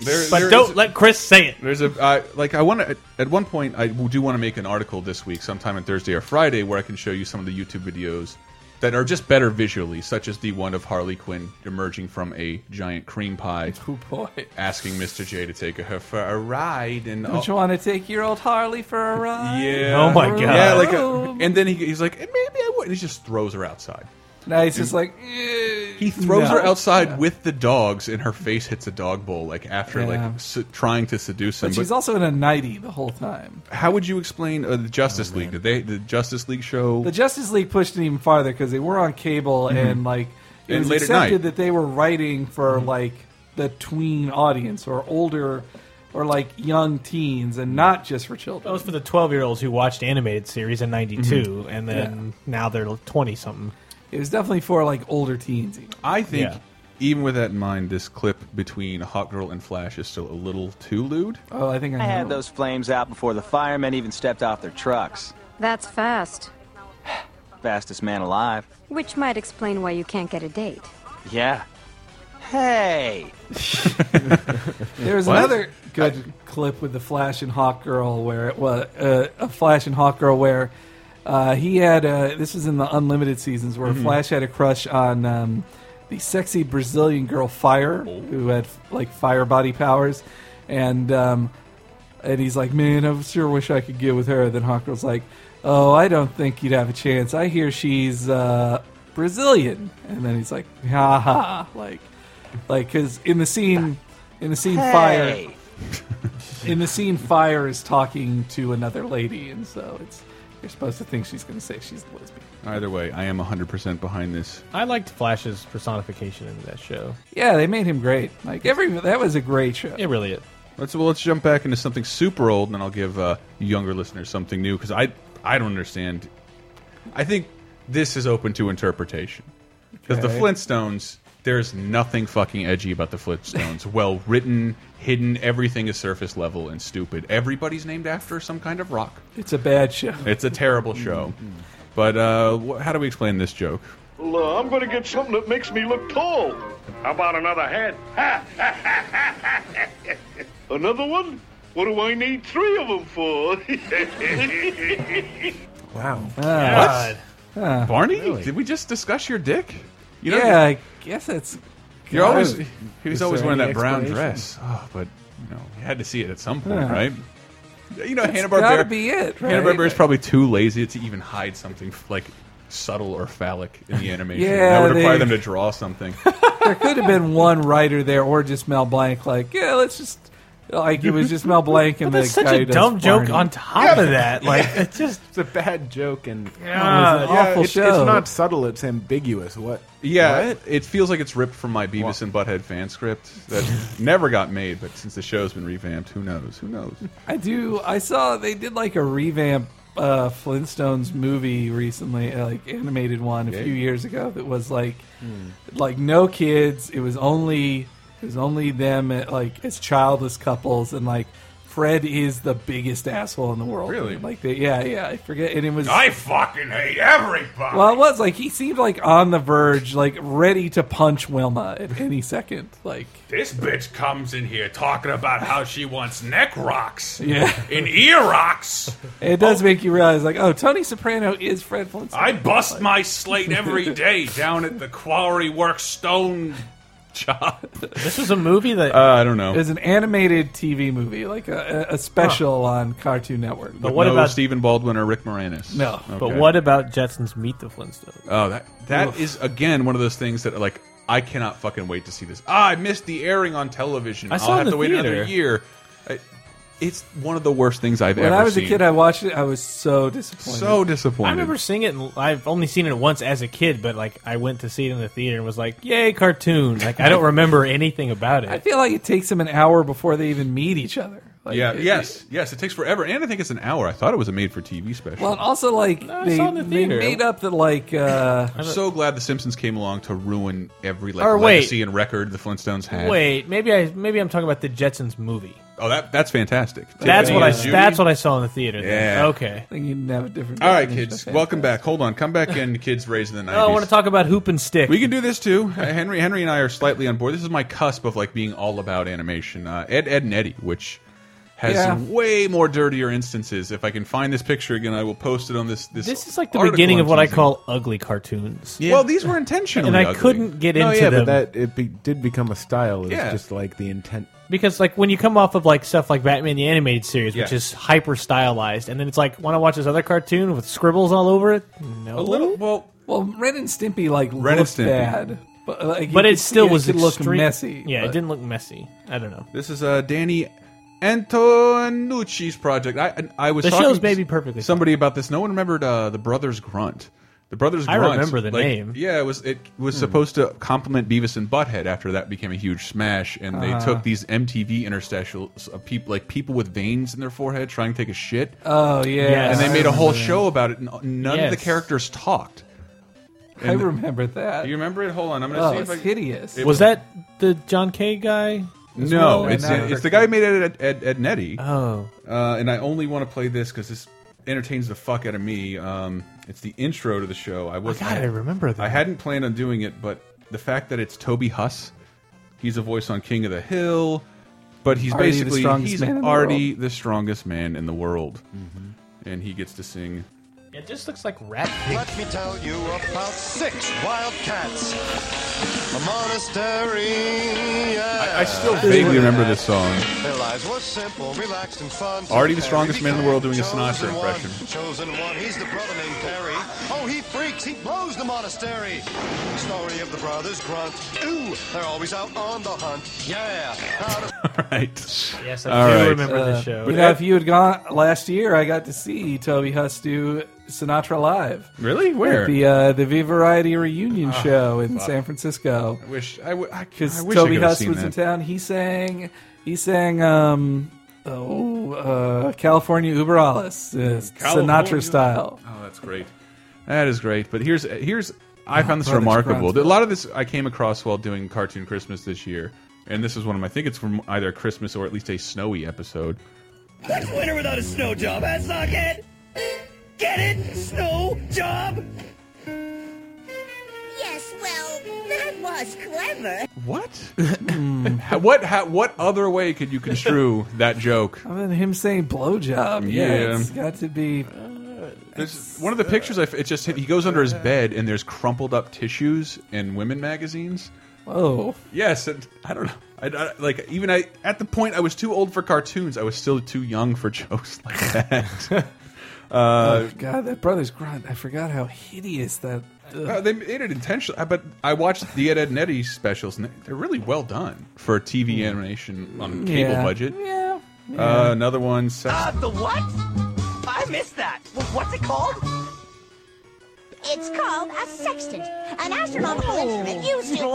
Speaker 1: There-
Speaker 6: but
Speaker 1: there
Speaker 6: don't
Speaker 1: is-
Speaker 6: let Chris say it.
Speaker 1: There's a I, like I want to at one point I do want to make an article this week, sometime on Thursday or Friday, where I can show you some of the YouTube videos that are just better visually, such as the one of Harley Quinn emerging from a giant cream pie,
Speaker 4: Oh boy.
Speaker 1: asking Mr. J to take her for a ride, and
Speaker 4: Don't you want to take your old Harley for a ride?
Speaker 1: yeah,
Speaker 6: Oh my God.
Speaker 4: Uh,
Speaker 1: yeah, like, a, and then he, he's like, "Eh, maybe I would, and he just throws her outside.
Speaker 4: Now he's just like,
Speaker 1: He throws
Speaker 4: No.
Speaker 1: her outside with the dogs, and her face hits a dog bowl. Like after
Speaker 4: Yeah.
Speaker 1: like su trying to seduce him.
Speaker 4: but she's also in a nighty the whole time.
Speaker 1: how would you explain uh, the Justice League? Did they the Justice League show?
Speaker 4: Oh, The Justice League pushed it even farther because they were on cable
Speaker 1: Mhm.
Speaker 4: and like it
Speaker 1: And
Speaker 4: was
Speaker 1: late at
Speaker 4: accepted
Speaker 1: night.
Speaker 4: that they were writing for like the tween audience or older or like young teens and not just for
Speaker 6: That
Speaker 4: children.
Speaker 1: Oh.
Speaker 6: was for the 12 year olds who watched animated series in 92,
Speaker 4: Mhm.
Speaker 6: and then now they're 20 something.
Speaker 4: It was definitely for like older teens. Even.
Speaker 1: I think
Speaker 6: Yeah.
Speaker 1: even with that in mind, this clip between Hot Girl and Flash is still a little too lewd.
Speaker 4: Oh, I think
Speaker 16: I had those flames out before the firemen even stepped off their trucks.
Speaker 17: That's fast.
Speaker 16: Fastest man alive.
Speaker 17: Which might explain why you can't get a date.
Speaker 16: Yeah. Hey!
Speaker 4: There was another good clip with the Flash and Hawk Girl where it was uh, a Flash and Hawk Girl where uh, he had uh this is in the Unlimited seasons where
Speaker 18: Mhm.
Speaker 4: Flash had a crush on um, the sexy Brazilian girl Fire who had like fire body powers and um, and he's like man I sure wish I could get with her then Hawk Girl's like oh I don't think you'd have a chance I hear she's uh, Brazilian and then he's like ha ha like like because in the scene in the scene
Speaker 16: Hey.
Speaker 4: fire in the scene fire is talking to another lady and so it's you're supposed to think she's going to say she's lesbian
Speaker 1: Either way, I am 100% behind this.
Speaker 6: I liked Flash's personification in that show.
Speaker 4: yeah they made him great like every that was a great show
Speaker 6: it really is
Speaker 1: Let's well, let's jump back into something super old, and then I'll give uh, younger listeners something new because I I don't understand I think this is open to interpretation because
Speaker 4: Okay.
Speaker 1: the Flintstones. There's nothing fucking edgy about the Flintstones. well written, hidden. Everything is surface level and stupid. Everybody's named after some kind of rock.
Speaker 4: It's a bad show.
Speaker 1: It's a terrible
Speaker 4: Mm-hmm.
Speaker 1: show. But uh, wh how do we explain this joke?
Speaker 7: Well, I'm gonna get something that makes me look tall. How about another head? another one? What do I need three of them for?
Speaker 5: Wow.
Speaker 1: God.
Speaker 4: What? Huh.
Speaker 1: Barney,
Speaker 4: Uh, Really?
Speaker 1: did we just discuss your dick?
Speaker 4: yeah, I guess that's.
Speaker 1: You're
Speaker 4: God.
Speaker 1: always he was
Speaker 4: Is
Speaker 1: always
Speaker 4: there
Speaker 1: wearing
Speaker 4: any
Speaker 1: that brown
Speaker 4: explanation?
Speaker 1: dress. Oh, but you know, you had to see it at some point,
Speaker 4: Yeah.
Speaker 1: right? You know,
Speaker 4: That's
Speaker 1: Hanna
Speaker 4: gotta
Speaker 1: Barbera.
Speaker 4: be it, right?
Speaker 1: Hanna Barbera is probably too lazy to even hide something like subtle or phallic in the animation.
Speaker 4: Yeah,
Speaker 1: that would require
Speaker 4: they-
Speaker 1: them to draw something.
Speaker 4: there could have been one writer there, or just Mel Blanc. Like, yeah, let's just like it was just Mel Blanc and
Speaker 6: But that's
Speaker 4: the
Speaker 6: such
Speaker 4: guy
Speaker 6: a
Speaker 4: who does
Speaker 6: dumb joke
Speaker 4: Barney.
Speaker 6: on top of that. Like it's just
Speaker 5: it's a bad joke and
Speaker 6: Yeah,
Speaker 5: it's
Speaker 6: it's an awful
Speaker 5: it's,
Speaker 6: show.
Speaker 5: not subtle. It's ambiguous. What?
Speaker 1: Yeah, it, it feels like it's ripped from my Beavis and Butthead fan script that never got made, but since the show's been revamped, who knows? Who knows?
Speaker 4: I do. I saw they did like a revamp uh, Flintstones movie recently, uh, like animated one a
Speaker 1: Yeah.
Speaker 4: few years ago. That was like, like no kids. It was only it was only them at, like as childless couples, and like Fred is the biggest asshole in the world.
Speaker 1: Really?
Speaker 4: Like they, yeah, yeah. I forget. And it was
Speaker 1: I fucking hate everybody.
Speaker 4: Well, it was like he seemed like on the verge, like ready to punch Wilma at any second. Like
Speaker 1: This bitch comes in here talking about how she wants neck rocks
Speaker 4: Yeah.
Speaker 1: and ear rocks.
Speaker 4: it does make you realize, like, oh, Tony Soprano is Fred Flintstone.
Speaker 1: I bust my slate every day down at the quarry work stone job.
Speaker 6: This was a movie that
Speaker 1: uh, I don't know.
Speaker 4: It was an animated TV movie, like a, a a special on Cartoon Network.
Speaker 1: But what about Stephen Baldwin or Rick Moranis?
Speaker 4: No.
Speaker 6: But
Speaker 1: Okay.
Speaker 6: what about Jetsons Meet the Flintstones?
Speaker 1: Oh, that that
Speaker 6: Oof.
Speaker 1: is again one of those things that like I cannot fucking wait to see this. Ah, I missed the airing on television.
Speaker 4: I
Speaker 1: will
Speaker 4: saw it
Speaker 1: have
Speaker 4: in
Speaker 1: to
Speaker 4: the
Speaker 1: wait another
Speaker 4: theater.
Speaker 1: year. I, it's one of the worst things I've
Speaker 4: When
Speaker 1: ever
Speaker 4: I was
Speaker 1: seen.
Speaker 4: a kid, I watched it. I was so disappointed.
Speaker 1: so disappointed.
Speaker 6: I remember seeing it. In, I've only seen it once as a kid, but like I went to see it in the theater and was like, "Yay, cartoon!" Like I don't remember anything about it.
Speaker 4: I feel like it takes them an hour before they even meet each other. Like,
Speaker 1: yeah.
Speaker 4: it-
Speaker 1: yes. Yes. It takes forever, and I think it's an hour. I thought it was a made-for-TV special.
Speaker 4: Well, and also like
Speaker 6: I
Speaker 4: they,
Speaker 6: saw it in the
Speaker 4: they
Speaker 6: theater.
Speaker 4: made up that like uh,
Speaker 1: I'm so glad the Simpsons came along to ruin every like
Speaker 6: Or wait.
Speaker 1: legacy and record the Flintstones had.
Speaker 6: Wait, maybe I maybe I'm talking about the Jetsons movie.
Speaker 1: Oh, that that's fantastic.
Speaker 6: That's
Speaker 1: Tiffany
Speaker 6: what I
Speaker 1: and Judy?
Speaker 6: that's what I saw in the theater. then.
Speaker 1: Yeah.
Speaker 6: Okay.
Speaker 4: I think you can have a different.
Speaker 1: All right,
Speaker 4: definition
Speaker 1: kids,
Speaker 4: of
Speaker 1: welcome back. Hold on, come back in, kids raised in the 90s.
Speaker 6: Oh, I want to talk about hoop and stick.
Speaker 1: We can do this too. Uh, Henry, Henry, and I are slightly on board. This is my cusp of like being all about animation. Uh, Ed, Ed, and Eddie, which has
Speaker 6: Yeah.
Speaker 1: way more dirtier instances. If I can find this picture again, I will post it on this. This,
Speaker 6: This is like the
Speaker 1: article
Speaker 6: beginning
Speaker 1: I'm
Speaker 6: of what I
Speaker 1: teasing.
Speaker 6: call ugly cartoons.
Speaker 1: Well, these were intentionally,
Speaker 6: and I
Speaker 1: ugly.
Speaker 6: couldn't get
Speaker 5: no,
Speaker 6: into
Speaker 5: yeah,
Speaker 6: them
Speaker 5: but that it be, did become a style. It's
Speaker 6: Yeah.
Speaker 5: just like the intent.
Speaker 6: because, like, when you come off of like stuff like Batman the animated series, which
Speaker 5: Yeah.
Speaker 6: is hyper stylized, and then it's like, want to watch this other cartoon with scribbles all over it? No,
Speaker 4: A
Speaker 1: little. Well,
Speaker 4: well, Ren and Stimpy like
Speaker 6: Ren and
Speaker 4: looked
Speaker 6: Stimpy.
Speaker 4: bad, but like,
Speaker 6: but
Speaker 4: you
Speaker 6: it,
Speaker 4: could-
Speaker 6: still
Speaker 4: it
Speaker 6: was
Speaker 4: could look
Speaker 6: extreme-
Speaker 4: messy.
Speaker 6: Yeah,
Speaker 4: but-
Speaker 6: it didn't look messy. I don't know.
Speaker 1: This is uh, Danny Antonucci's project. I and I was
Speaker 6: The
Speaker 1: talking
Speaker 6: show's
Speaker 1: to
Speaker 6: maybe perfectly
Speaker 1: somebody about this. No one remembered uh, the Brothers Grunt. The Brothers
Speaker 6: I
Speaker 1: Grunt.
Speaker 6: remember the
Speaker 1: like,
Speaker 6: name.
Speaker 1: Yeah, it was it was
Speaker 6: Hmm.
Speaker 1: supposed to complement Beavis and Butthead. After that became a huge smash, and they
Speaker 4: Uh-huh.
Speaker 1: took these MTV interstitials of people like people with veins in their forehead trying to take a shit.
Speaker 4: Oh, yeah. Yes.
Speaker 1: and they
Speaker 4: I
Speaker 1: made a whole
Speaker 4: remember that.
Speaker 1: show about it. And none of the
Speaker 4: Yes.
Speaker 1: characters talked.
Speaker 4: I
Speaker 1: And-
Speaker 4: remember that.
Speaker 1: Do you remember it? Hold on, I'm gonna
Speaker 4: Oh,
Speaker 1: see if
Speaker 4: it's
Speaker 1: I
Speaker 4: hideous.
Speaker 1: It
Speaker 6: was that the John Kay guy? as
Speaker 1: no,
Speaker 6: well?
Speaker 1: it's it's the guy who made it at, at, at Netty.
Speaker 6: Oh.
Speaker 1: Uh, and I only want to play this because this entertains the fuck out of me. Um, it's the intro to the show. I was
Speaker 6: God, I remember that.
Speaker 1: I hadn't planned on doing it, but the fact that it's Toby Huss, he's a voice on King of the Hill, but he's
Speaker 4: Already the
Speaker 1: basically
Speaker 4: strongest
Speaker 1: he's
Speaker 4: man in the
Speaker 1: already the, strongest man in the world, and he gets to sing.
Speaker 6: It just looks like rat.
Speaker 18: Let me tell you about six wildcats. A monastery.
Speaker 1: I still vaguely remember this song.
Speaker 18: Their lives were simple, relaxed, and fun.
Speaker 7: Oh,
Speaker 1: Already the strongest man in the world doing a Sinatra impression.
Speaker 18: Chosen one, he's the brother named Perry. Oh, he freaks, he blows the monastery. Story of the brothers Grunt. Ooh, they're always out on the hunt. Yeah. Out of-
Speaker 1: right.
Speaker 6: Yes,
Speaker 18: I do
Speaker 6: remember the
Speaker 4: Uh,
Speaker 6: show.
Speaker 4: You
Speaker 6: But
Speaker 4: know,
Speaker 6: that-
Speaker 4: if you had gone last year, I got to see Toby Huss do Sinatra live.
Speaker 1: Really? Where?
Speaker 4: At the uh, the V Variety reunion
Speaker 1: Ah,
Speaker 4: show in
Speaker 1: fuck.
Speaker 4: San Francisco.
Speaker 1: I wish I would
Speaker 4: because
Speaker 1: I wish I
Speaker 4: Toby
Speaker 1: could have
Speaker 4: Huss
Speaker 1: seen
Speaker 4: was
Speaker 1: that.
Speaker 4: in town. He sang. He sang. Um, oh, uh, California Uber Alles, uh,
Speaker 1: California.
Speaker 4: Sinatra style.
Speaker 1: Oh, that's great. That is great. But here's here's I
Speaker 19: Oh,
Speaker 1: found this
Speaker 19: Brothers
Speaker 1: remarkable.
Speaker 19: Grimm.
Speaker 1: A lot of this I came across while doing Cartoon Christmas this year, and this is one of them. I think it's from either Christmas or at least a snowy episode.
Speaker 7: That's winter without a snow job. That's not it. Get it? Snow job?
Speaker 11: Yes, well, that was clever.
Speaker 1: What? How- what? How, what other way could you construe that joke?
Speaker 4: Other than him saying blowjob, yeah,
Speaker 1: Yeah.
Speaker 4: it's got to be.
Speaker 1: There's one of the pictures. I f it just he goes under his bed and there's crumpled up tissues in women magazines.
Speaker 4: Whoa.
Speaker 1: Yes, and I don't know. I, I- like even I at the point I was too old for cartoons. I was still too young for jokes like that. uh,
Speaker 4: oh God, that brother's grunt. I forgot how hideous that.
Speaker 1: Uh, they made it intentionally, but I watched the Ed, Ed and Eddie specials, and they're really well done for TV animation on cable
Speaker 4: Hmm. Yeah.
Speaker 1: budget.
Speaker 4: Yeah. Ah,
Speaker 1: Uh, another one, sex.
Speaker 2: Uh, the what? I missed that. Wh- What's it called?
Speaker 11: It's called a sextant, an astronomical instrument used to.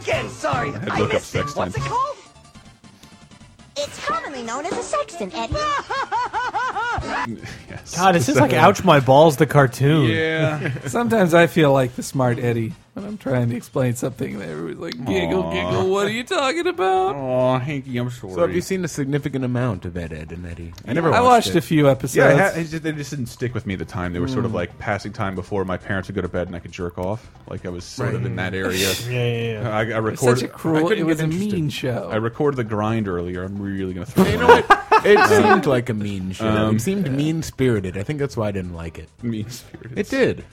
Speaker 2: Again, sorry.
Speaker 1: I had to
Speaker 2: I
Speaker 1: look up
Speaker 2: missed it.
Speaker 1: sextant.
Speaker 2: What's it called?
Speaker 11: It's commonly known as a sextant, Eddie.
Speaker 6: God, is this
Speaker 1: Uh,
Speaker 6: like ouch my balls the cartoon?
Speaker 4: Sometimes I feel like the smart Eddie when I'm trying to explain something. There was like giggle,
Speaker 5: Aw.
Speaker 4: giggle. What are you talking about?
Speaker 1: Oh, Hanky, I'm sorry.
Speaker 5: So have you seen a significant amount of Ed, Ed, and Eddie? I never.
Speaker 4: I
Speaker 5: Watched
Speaker 4: watched
Speaker 5: it.
Speaker 4: a few episodes.
Speaker 1: Yeah, I had- it just- they just didn't stick with me at the time. They were sort of
Speaker 4: Mm.
Speaker 1: like passing time before my parents would go to bed and I could jerk off. Like I was sort of
Speaker 4: Right.
Speaker 1: in that area.
Speaker 4: Yeah, yeah, yeah.
Speaker 1: I, I
Speaker 4: It was
Speaker 1: recorded.
Speaker 4: such a cruel-
Speaker 1: I couldn't
Speaker 4: it
Speaker 1: get
Speaker 4: was a
Speaker 1: interested.
Speaker 4: mean show.
Speaker 1: I recorded the grind earlier. I'm really gonna throw.
Speaker 5: You
Speaker 1: one
Speaker 5: know what?
Speaker 1: out.
Speaker 5: It
Speaker 1: Um,
Speaker 5: seemed like a mean show.
Speaker 1: um,
Speaker 5: it seemed mean spirited. I think that's why I didn't like it.
Speaker 1: Mean spirited.
Speaker 5: It did.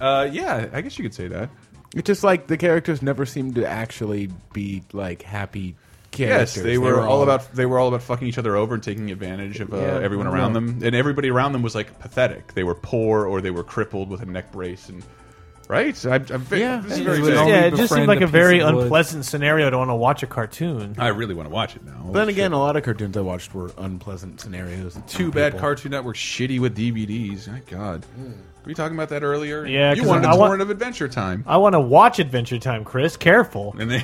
Speaker 1: Uh, yeah, I guess you could say that.
Speaker 5: It's just like the characters never seemed to actually be like happy
Speaker 1: Yes,
Speaker 5: characters.
Speaker 1: they were all about they were all about fucking each other over and taking advantage of uh,
Speaker 5: Yeah,
Speaker 1: everyone
Speaker 5: yeah.
Speaker 1: around them, and everybody around them was like pathetic. They were poor or they were crippled with a neck brace, and right. I, I'm, yeah, this is very vague.
Speaker 6: yeah, it just seemed like a very unpleasant scenario to want to watch a cartoon.
Speaker 1: I really want to watch it now.
Speaker 5: Then again, a lot of cartoons I watched were unpleasant scenarios.
Speaker 1: Too bad Cartoon Network shitty with DVDs. My God, were you talking about that earlier?
Speaker 6: Yeah,
Speaker 1: you
Speaker 6: 'cause
Speaker 1: wanted
Speaker 6: I
Speaker 1: a
Speaker 6: want-
Speaker 1: torrent of Adventure Time.
Speaker 6: I want to watch Adventure Time, Chris. Careful.
Speaker 1: And they,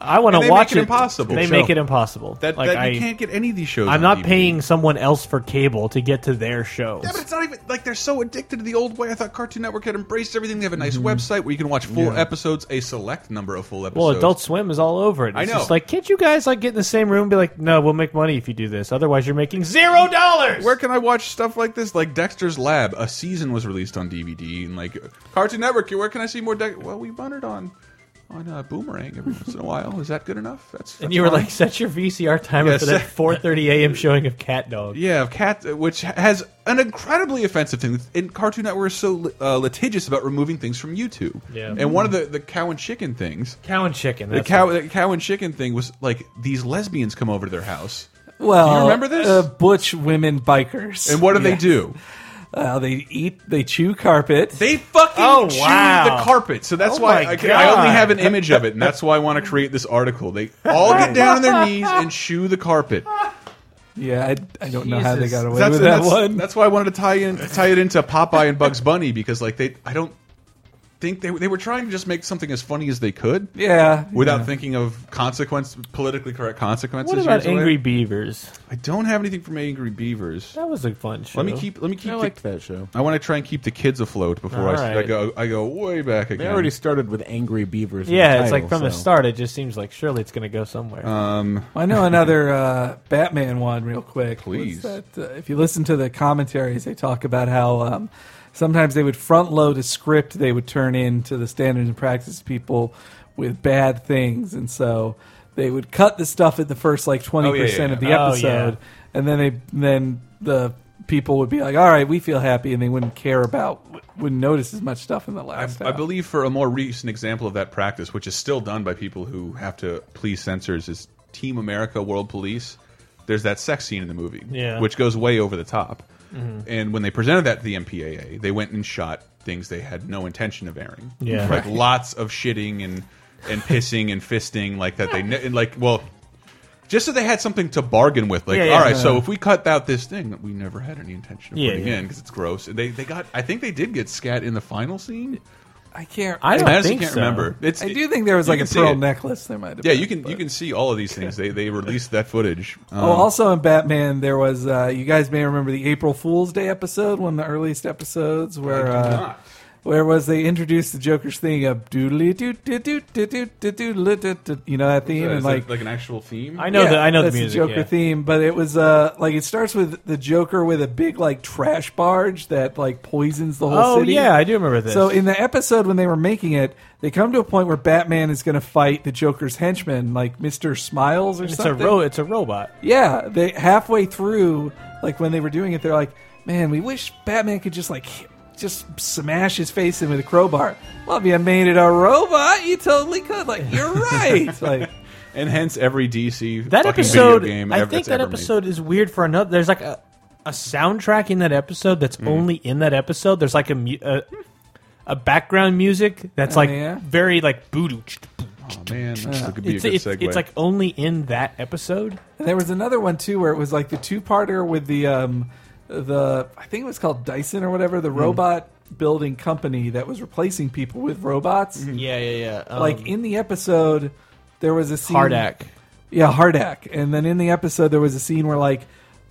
Speaker 6: I want
Speaker 1: And
Speaker 6: to
Speaker 1: they
Speaker 6: watch
Speaker 1: make it impossible.
Speaker 6: They
Speaker 1: Good
Speaker 6: make
Speaker 1: show.
Speaker 6: it impossible.
Speaker 1: That-
Speaker 6: Like,
Speaker 1: that you
Speaker 6: I-
Speaker 1: can't get any of these shows
Speaker 6: I'm
Speaker 1: on
Speaker 6: not
Speaker 1: DVD.
Speaker 6: paying someone else for cable to get to their show.
Speaker 1: Yeah, but it's not even like they're so addicted to the old way. I thought Cartoon Network had embraced everything. They have a nice website where you can watch full
Speaker 6: Mm-hmm. Yeah.
Speaker 1: episodes, a select number of full episodes.
Speaker 6: Well, Adult Swim is all over it. It's
Speaker 1: I know.
Speaker 6: Just like, can't you guys like get in the same room and be like, no, we'll make money if you do this. Otherwise, you're making zero dollars.
Speaker 1: Where can I watch stuff like this? Like Dexter's Lab, a season was released on DVD, and like Cartoon Network. Where can I see more? Dex well, we bundered on on uh, Boomerang every once in a while. Is that good enough? That's,
Speaker 6: And
Speaker 1: that's
Speaker 6: you were
Speaker 1: fine.
Speaker 6: like, set your VCR timer
Speaker 1: Yes.
Speaker 6: for that 4:30 a.m. showing of Cat Dog.
Speaker 1: Yeah, of cat, which has an incredibly offensive thing. And Cartoon Network is so uh, litigious about removing things from YouTube.
Speaker 6: Yeah.
Speaker 1: And one of the the cow and chicken things,
Speaker 6: cow and chicken,
Speaker 1: the
Speaker 6: that's
Speaker 1: cow, the cow and chicken thing was like these lesbians come over to their house.
Speaker 4: Well,
Speaker 1: Do you remember this?
Speaker 4: Uh, butch women bikers.
Speaker 1: And what do they do?
Speaker 4: Well, they eat. They chew carpet.
Speaker 1: They fucking chewed the carpet. So that's
Speaker 4: Oh
Speaker 1: why
Speaker 4: my
Speaker 1: I, can- I only
Speaker 4: God.
Speaker 1: have an image of it, and that's why I want to create this article. They all get down on their knees and chew the carpet.
Speaker 4: Yeah, I, I don't know how they got away
Speaker 1: That's-
Speaker 4: with that
Speaker 1: that's,
Speaker 4: one.
Speaker 1: That's why I wanted to tie in tie it into Popeye and Bugs Bunny because like they I don't think they they were trying to just make something as funny as they could.
Speaker 4: Yeah,
Speaker 1: Without
Speaker 4: yeah.
Speaker 1: thinking of consequence politically correct consequences.
Speaker 6: What about
Speaker 1: years later.
Speaker 6: Angry Beavers?
Speaker 1: I don't have anything from Angry Beavers.
Speaker 6: That was a fun show.
Speaker 1: Let me keep. Let me keep.
Speaker 5: I
Speaker 1: the-
Speaker 5: liked that show.
Speaker 1: I want to try and keep the kids afloat before I,
Speaker 6: All
Speaker 1: I
Speaker 6: right.
Speaker 1: go. I go way back again.
Speaker 5: They already started with Angry Beavers. in the
Speaker 6: Yeah, it's
Speaker 5: title,
Speaker 6: like from the
Speaker 5: so.
Speaker 6: start. It just seems like surely it's going to go somewhere.
Speaker 1: Um,
Speaker 4: I know another uh, Batman one, real quick.
Speaker 6: Please.
Speaker 4: Was that, uh, if you listen to the commentaries, they talk about how um, sometimes they would front load a script they would turn in to the standards and practice people with bad things, and so they would cut the stuff at the first like twenty percent of the
Speaker 6: Oh, yeah.
Speaker 4: episode, and then they then the people would be like, "All right, we feel happy," and they wouldn't care about wouldn't notice as much stuff in the last.
Speaker 1: I believe for a more recent example of that practice, which is still done by people who have to please censors, is Team America World Police. There's that sex scene in the movie,
Speaker 6: Yeah.
Speaker 1: which goes way over the top.
Speaker 6: Mhm.
Speaker 1: And when they presented that to the MPAA, they went and shot things they had no intention of airing.
Speaker 6: Yeah.
Speaker 1: like lots of shitting and and pissing and fisting like that. They ne- and like well. Just so they had something to bargain with, like,
Speaker 6: Yeah, yeah.
Speaker 1: all right,
Speaker 6: Yeah.
Speaker 1: so if we cut out this thing that we never had any intention of
Speaker 6: Yeah,
Speaker 1: putting
Speaker 6: yeah.
Speaker 1: in because it's gross, And they they got, I think they did get scat in the final scene.
Speaker 4: I can't.
Speaker 1: I don't I honestly think can't so. remember. It's-
Speaker 4: I do think there was
Speaker 1: you
Speaker 4: like a
Speaker 1: can see
Speaker 4: pearl
Speaker 1: it.
Speaker 4: necklace. There might have.
Speaker 1: Yeah,
Speaker 4: been.
Speaker 1: you can you can see all of these things. They they released that footage.
Speaker 4: oh,
Speaker 1: Um,
Speaker 4: also in Batman, there was. Uh, you guys may remember the April Fool's Day episode, one of the earliest episodes where.
Speaker 1: I do
Speaker 4: uh,
Speaker 1: not.
Speaker 4: Where was they introduced the Joker's thing of doodly doot doot doot doot doot doot doot doot doot, you know that theme
Speaker 1: is
Speaker 4: and
Speaker 1: that
Speaker 4: like
Speaker 1: like an actual theme.
Speaker 4: Yeah, that's Joker theme, but it was uh like it starts with the Joker with a big like trash barge that like poisons the whole
Speaker 6: Oh,
Speaker 4: city.
Speaker 6: yeah, I do remember this.
Speaker 4: So in the episode when they were making it, they come to a point where Batman is going to fight the Joker's henchman, like Mister Smiles or
Speaker 6: It's a
Speaker 4: something.
Speaker 6: ro- it's a robot.
Speaker 4: Yeah, they halfway through, like when they were doing it, they're like, "Man, we wish Batman could just like hit- just smash his face in with a crowbar." Well, if you made it a robot, you totally could. Like you're right. like
Speaker 1: and hence every DC
Speaker 6: that
Speaker 1: fucking
Speaker 6: episode.
Speaker 1: video game
Speaker 6: I
Speaker 1: ever,
Speaker 6: think
Speaker 1: that's
Speaker 6: that
Speaker 1: ever made.
Speaker 6: episode is weird for another. There's like a, a soundtrack in that episode that's
Speaker 1: Mm.
Speaker 6: only in that episode. There's like a mu- a, a background music that's
Speaker 4: Oh,
Speaker 6: like
Speaker 4: yeah?
Speaker 6: very like voodoo.
Speaker 1: Oh man, this could be
Speaker 6: Uh, It's,
Speaker 1: a good
Speaker 6: it's,
Speaker 1: segue.
Speaker 6: it's like only in that episode.
Speaker 4: And there was another one too where it was like the two parter with the um the I think it was called Dyson or whatever, the robot building company that was replacing people with robots.
Speaker 6: Yeah, yeah, yeah.
Speaker 4: like
Speaker 6: Um,
Speaker 4: in the episode there was a scene
Speaker 6: Hardak.
Speaker 4: Yeah, Hardak. And then in the episode there was a scene where like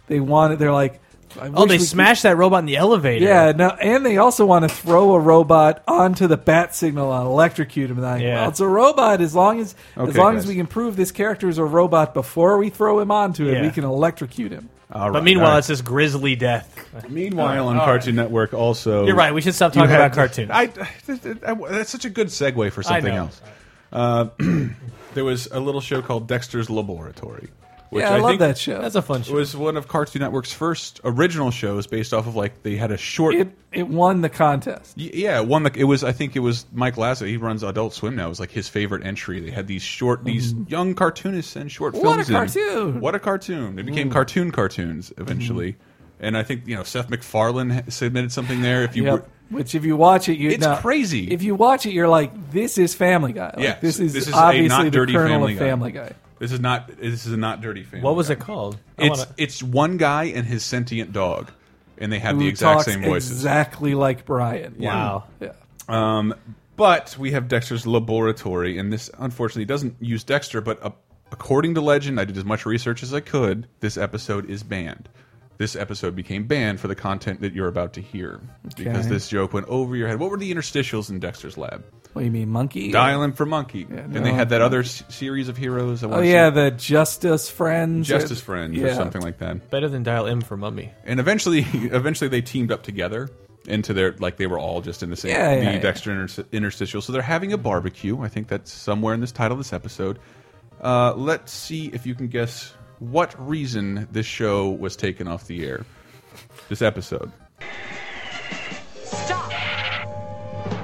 Speaker 4: they wanted they're like I
Speaker 6: oh,
Speaker 4: wish
Speaker 6: they
Speaker 4: we could-
Speaker 6: smashed that robot in the elevator.
Speaker 4: yeah, no, and they also want to throw a robot onto the bat signal and electrocute him. And I'm Like,
Speaker 6: Yeah.
Speaker 4: well, it's a robot. As long as as
Speaker 1: Okay,
Speaker 4: long as
Speaker 1: guys.
Speaker 4: we can prove this character is a robot before we throw him onto it,
Speaker 6: Yeah.
Speaker 4: we can electrocute him.
Speaker 1: All
Speaker 6: but
Speaker 1: right,
Speaker 6: meanwhile,
Speaker 1: all right.
Speaker 6: it's this grisly death.
Speaker 1: meanwhile on
Speaker 6: All right.
Speaker 1: Cartoon Network also.
Speaker 6: You're right, we should stop
Speaker 1: you
Speaker 6: talking
Speaker 1: had-
Speaker 6: about cartoons.
Speaker 1: I, I- I- that's such a good segue for something
Speaker 6: know.
Speaker 1: else. Uh, there was a little show called Dexter's Laboratory. Which
Speaker 4: Yeah, I love
Speaker 1: think
Speaker 4: that show. That's a
Speaker 6: fun show.
Speaker 1: Was one of Cartoon Network's first original shows, based off of like they had a short.
Speaker 4: It it won the contest.
Speaker 1: Y- Yeah, one that it was. I think it was Mike Lazo. He runs Adult Swim now. It was like his favorite entry. They had these short, these young cartoonists and short
Speaker 4: Mm-hmm. What a
Speaker 1: films. in.
Speaker 4: cartoon!
Speaker 1: What a cartoon! They became
Speaker 4: Mm. Mm-hmm.
Speaker 1: cartoon cartoons eventually, and I think you know Seth MacFarlane ha- submitted something there. If you
Speaker 4: Yep.
Speaker 1: were,
Speaker 4: Which if you watch it, you
Speaker 1: It's
Speaker 4: no.
Speaker 1: crazy.
Speaker 4: If you watch it, you're like, this is Family Guy. Like,
Speaker 1: yeah,
Speaker 4: this is
Speaker 1: this is a
Speaker 4: obviously
Speaker 1: not
Speaker 4: the
Speaker 1: dirty
Speaker 4: kernel
Speaker 1: family
Speaker 4: of
Speaker 1: guy.
Speaker 4: Family Guy.
Speaker 1: This is not. This is a not dirty family.
Speaker 6: What was
Speaker 1: Guy.
Speaker 6: it called? I
Speaker 1: It's
Speaker 6: wanna-
Speaker 1: it's one guy and his sentient dog, and they have
Speaker 4: who
Speaker 1: the exact
Speaker 4: talks
Speaker 1: same voices.
Speaker 4: exactly like Brian.
Speaker 1: Yeah.
Speaker 4: Yeah.
Speaker 1: Um, but we have Dexter's laboratory, and this unfortunately doesn't use Dexter, but uh, according to legend, I did as much research as I could. This episode is banned. This episode became banned for the content that you're about to hear because
Speaker 4: Okay.
Speaker 1: this joke went over your head. What were the interstitials in Dexter's lab?
Speaker 4: What do you mean, monkey?
Speaker 1: Dialing for monkey, and they
Speaker 4: no.
Speaker 1: had that other s series of heroes. I
Speaker 4: Oh
Speaker 1: wanna
Speaker 4: yeah,
Speaker 1: say-
Speaker 4: the Justice Friends.
Speaker 1: Justice Friends or
Speaker 4: Yeah.
Speaker 1: something like that.
Speaker 6: Better than Dial M for Mummy.
Speaker 1: And eventually, eventually they teamed up together into their like they were all just in the same
Speaker 4: Yeah,
Speaker 1: the
Speaker 4: yeah, yeah.
Speaker 1: Dexter inter- interstitial. So they're having a barbecue. I think that's somewhere in this title of this episode. Uh, let's see if you can guess what reason this show was taken off the air. This episode.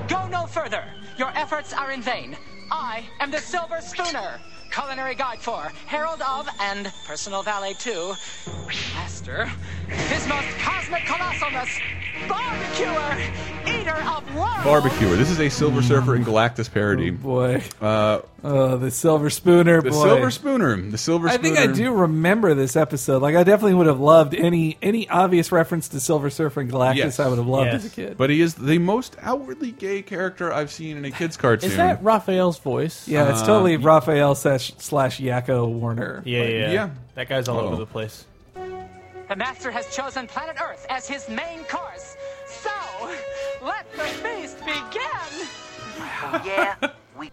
Speaker 19: Go no further. Your efforts are in vain. I am the Silver Spooner, culinary guide for, herald of, and personal valet to, master, his most cosmic colossalness, barbecuer, eater of worlds.
Speaker 1: Barbecuer. This is a Silver Surfer and Galactus parody.
Speaker 4: Hmm. Oh, boy.
Speaker 1: Uh,
Speaker 4: oh, the Silver Spooner.
Speaker 1: The
Speaker 4: boy.
Speaker 1: Silver Spooner. The Silver
Speaker 4: I
Speaker 1: Spooner.
Speaker 4: think I do remember this episode. Like, I definitely would have loved any any obvious reference to Silver Surfer and Galactus.
Speaker 1: Yes.
Speaker 4: I would have loved as a kid.
Speaker 1: But he is the most outwardly gay character I've seen in a kid's cartoon.
Speaker 6: Is that Raphael's voice?
Speaker 4: Yeah,
Speaker 1: uh,
Speaker 4: it's totally Raphael slash, slash Yakko Warner.
Speaker 6: Yeah,
Speaker 4: Like,
Speaker 6: yeah, yeah. That guy's all
Speaker 4: Uh-oh.
Speaker 6: over the place.
Speaker 19: The master has chosen planet Earth as his main course. So, let the feast begin. yeah, we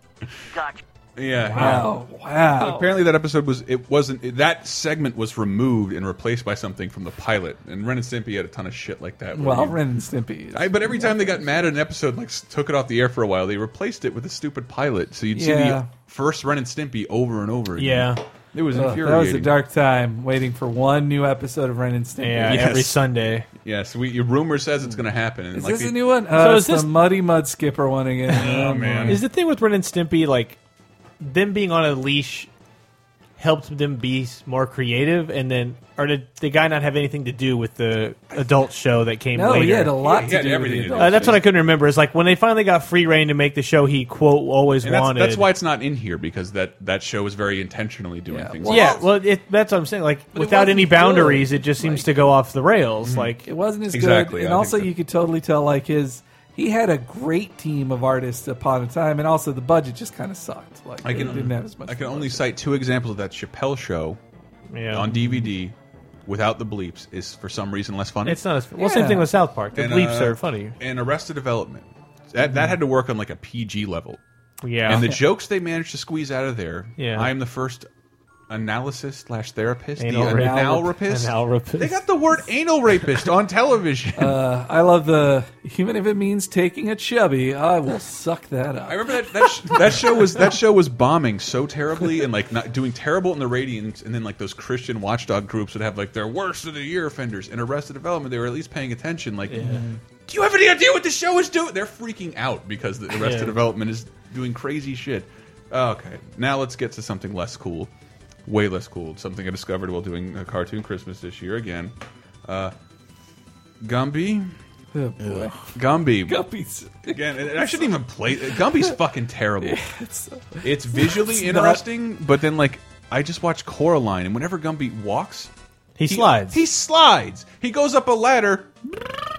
Speaker 19: got you.
Speaker 1: Yeah.
Speaker 4: Wow,
Speaker 1: yeah.
Speaker 4: wow.
Speaker 1: Apparently that episode was it wasn't it- that segment was removed and replaced by something from the pilot. And Ren and Stimpy had a ton of shit like that. where
Speaker 4: Well,
Speaker 1: you-
Speaker 4: Ren and Stimpy. is-
Speaker 1: I, but every time they got mad at an episode, like s- took it off the air for a while, they replaced it with a stupid pilot. So you'd see
Speaker 4: Yeah.
Speaker 1: the first Ren and Stimpy over and over again. it was
Speaker 4: Ugh,
Speaker 1: infuriating.
Speaker 4: That was a dark time waiting for one new episode of Ren and Stimpy.
Speaker 1: Yes.
Speaker 6: Sunday.
Speaker 1: Yes, we, your rumor says it's going to happen. And
Speaker 4: Is
Speaker 1: like
Speaker 4: this
Speaker 1: the-
Speaker 4: a new one? Uh,
Speaker 6: So
Speaker 4: so
Speaker 6: is
Speaker 4: is
Speaker 6: this-
Speaker 4: the Muddy Mud Skipper one again?
Speaker 1: Oh, man.
Speaker 6: Is the thing with Ren and Stimpy like them being on a leash helped them be s- more creative, and then or did the guy not have anything to do with the adult show that came
Speaker 4: No,
Speaker 6: later?
Speaker 4: he had a lot to do.
Speaker 1: everything
Speaker 4: With
Speaker 1: to
Speaker 4: the
Speaker 1: do.
Speaker 4: adult.
Speaker 6: Uh, that's what I couldn't remember. Is like when they finally got free reign to make the show he quote always
Speaker 1: and that's,
Speaker 6: wanted.
Speaker 1: that's why it's not in here because that that show is very intentionally doing things. like
Speaker 6: yeah,
Speaker 1: that.
Speaker 6: well, it, that's what I'm saying. Like without any
Speaker 4: wasn't
Speaker 6: boundaries, it just seems to go off the rails.
Speaker 1: Mhm.
Speaker 6: Like
Speaker 4: it wasn't as
Speaker 6: Exactly,
Speaker 4: good,
Speaker 6: I
Speaker 4: and
Speaker 6: think
Speaker 4: also you could totally tell like his he had a great team of artists upon a time, and also the budget just kind of sucked. Like
Speaker 1: I
Speaker 4: they
Speaker 1: can
Speaker 4: didn't have as much.
Speaker 1: I can only cite two examples of that. Chappelle Show
Speaker 6: Yeah.
Speaker 1: on DVD without the bleeps is for some reason less funny.
Speaker 6: It's not as- well, same Yeah. thing with South Park. The
Speaker 1: uh,
Speaker 6: bleeps are
Speaker 1: funnier. And Arrested Development that that
Speaker 6: Mhm.
Speaker 1: had to work on like a PG level.
Speaker 6: Yeah.
Speaker 1: and the jokes they managed to squeeze out of there.
Speaker 6: Oh. Yeah.
Speaker 1: I am the first analysis slash therapist,
Speaker 6: Anal
Speaker 1: the
Speaker 6: rape.
Speaker 1: anal rapist.
Speaker 6: Anal rapist.
Speaker 1: They got the word anal rapist on television.
Speaker 4: Uh, I love the even if it means taking a chubby, I will suck that up.
Speaker 1: I remember that that, sh that show was that show was bombing so terribly and like not doing terrible in the ratings, and then like those Christian watchdog groups would have like their worst of the year offenders and Arrested Development. They were at least paying attention. Like, do you have any idea what the show is doing? They're freaking out because the Arrested
Speaker 6: Yeah.
Speaker 1: Development is doing crazy shit. Okay, now let's get to something less cool, way less cool. Something I discovered while doing a cartoon Christmas this year again. Uh, Gumby.
Speaker 4: Oh, boy.
Speaker 1: Gumby.
Speaker 4: Gumby's
Speaker 1: again. and I shouldn't even play. Gumby's fucking terrible.
Speaker 4: it's,
Speaker 1: It's visually
Speaker 4: It's not-
Speaker 1: interesting, but then like I just watch Coraline, and whenever Gumby walks,
Speaker 6: He slides.
Speaker 1: He slides. He goes up a ladder.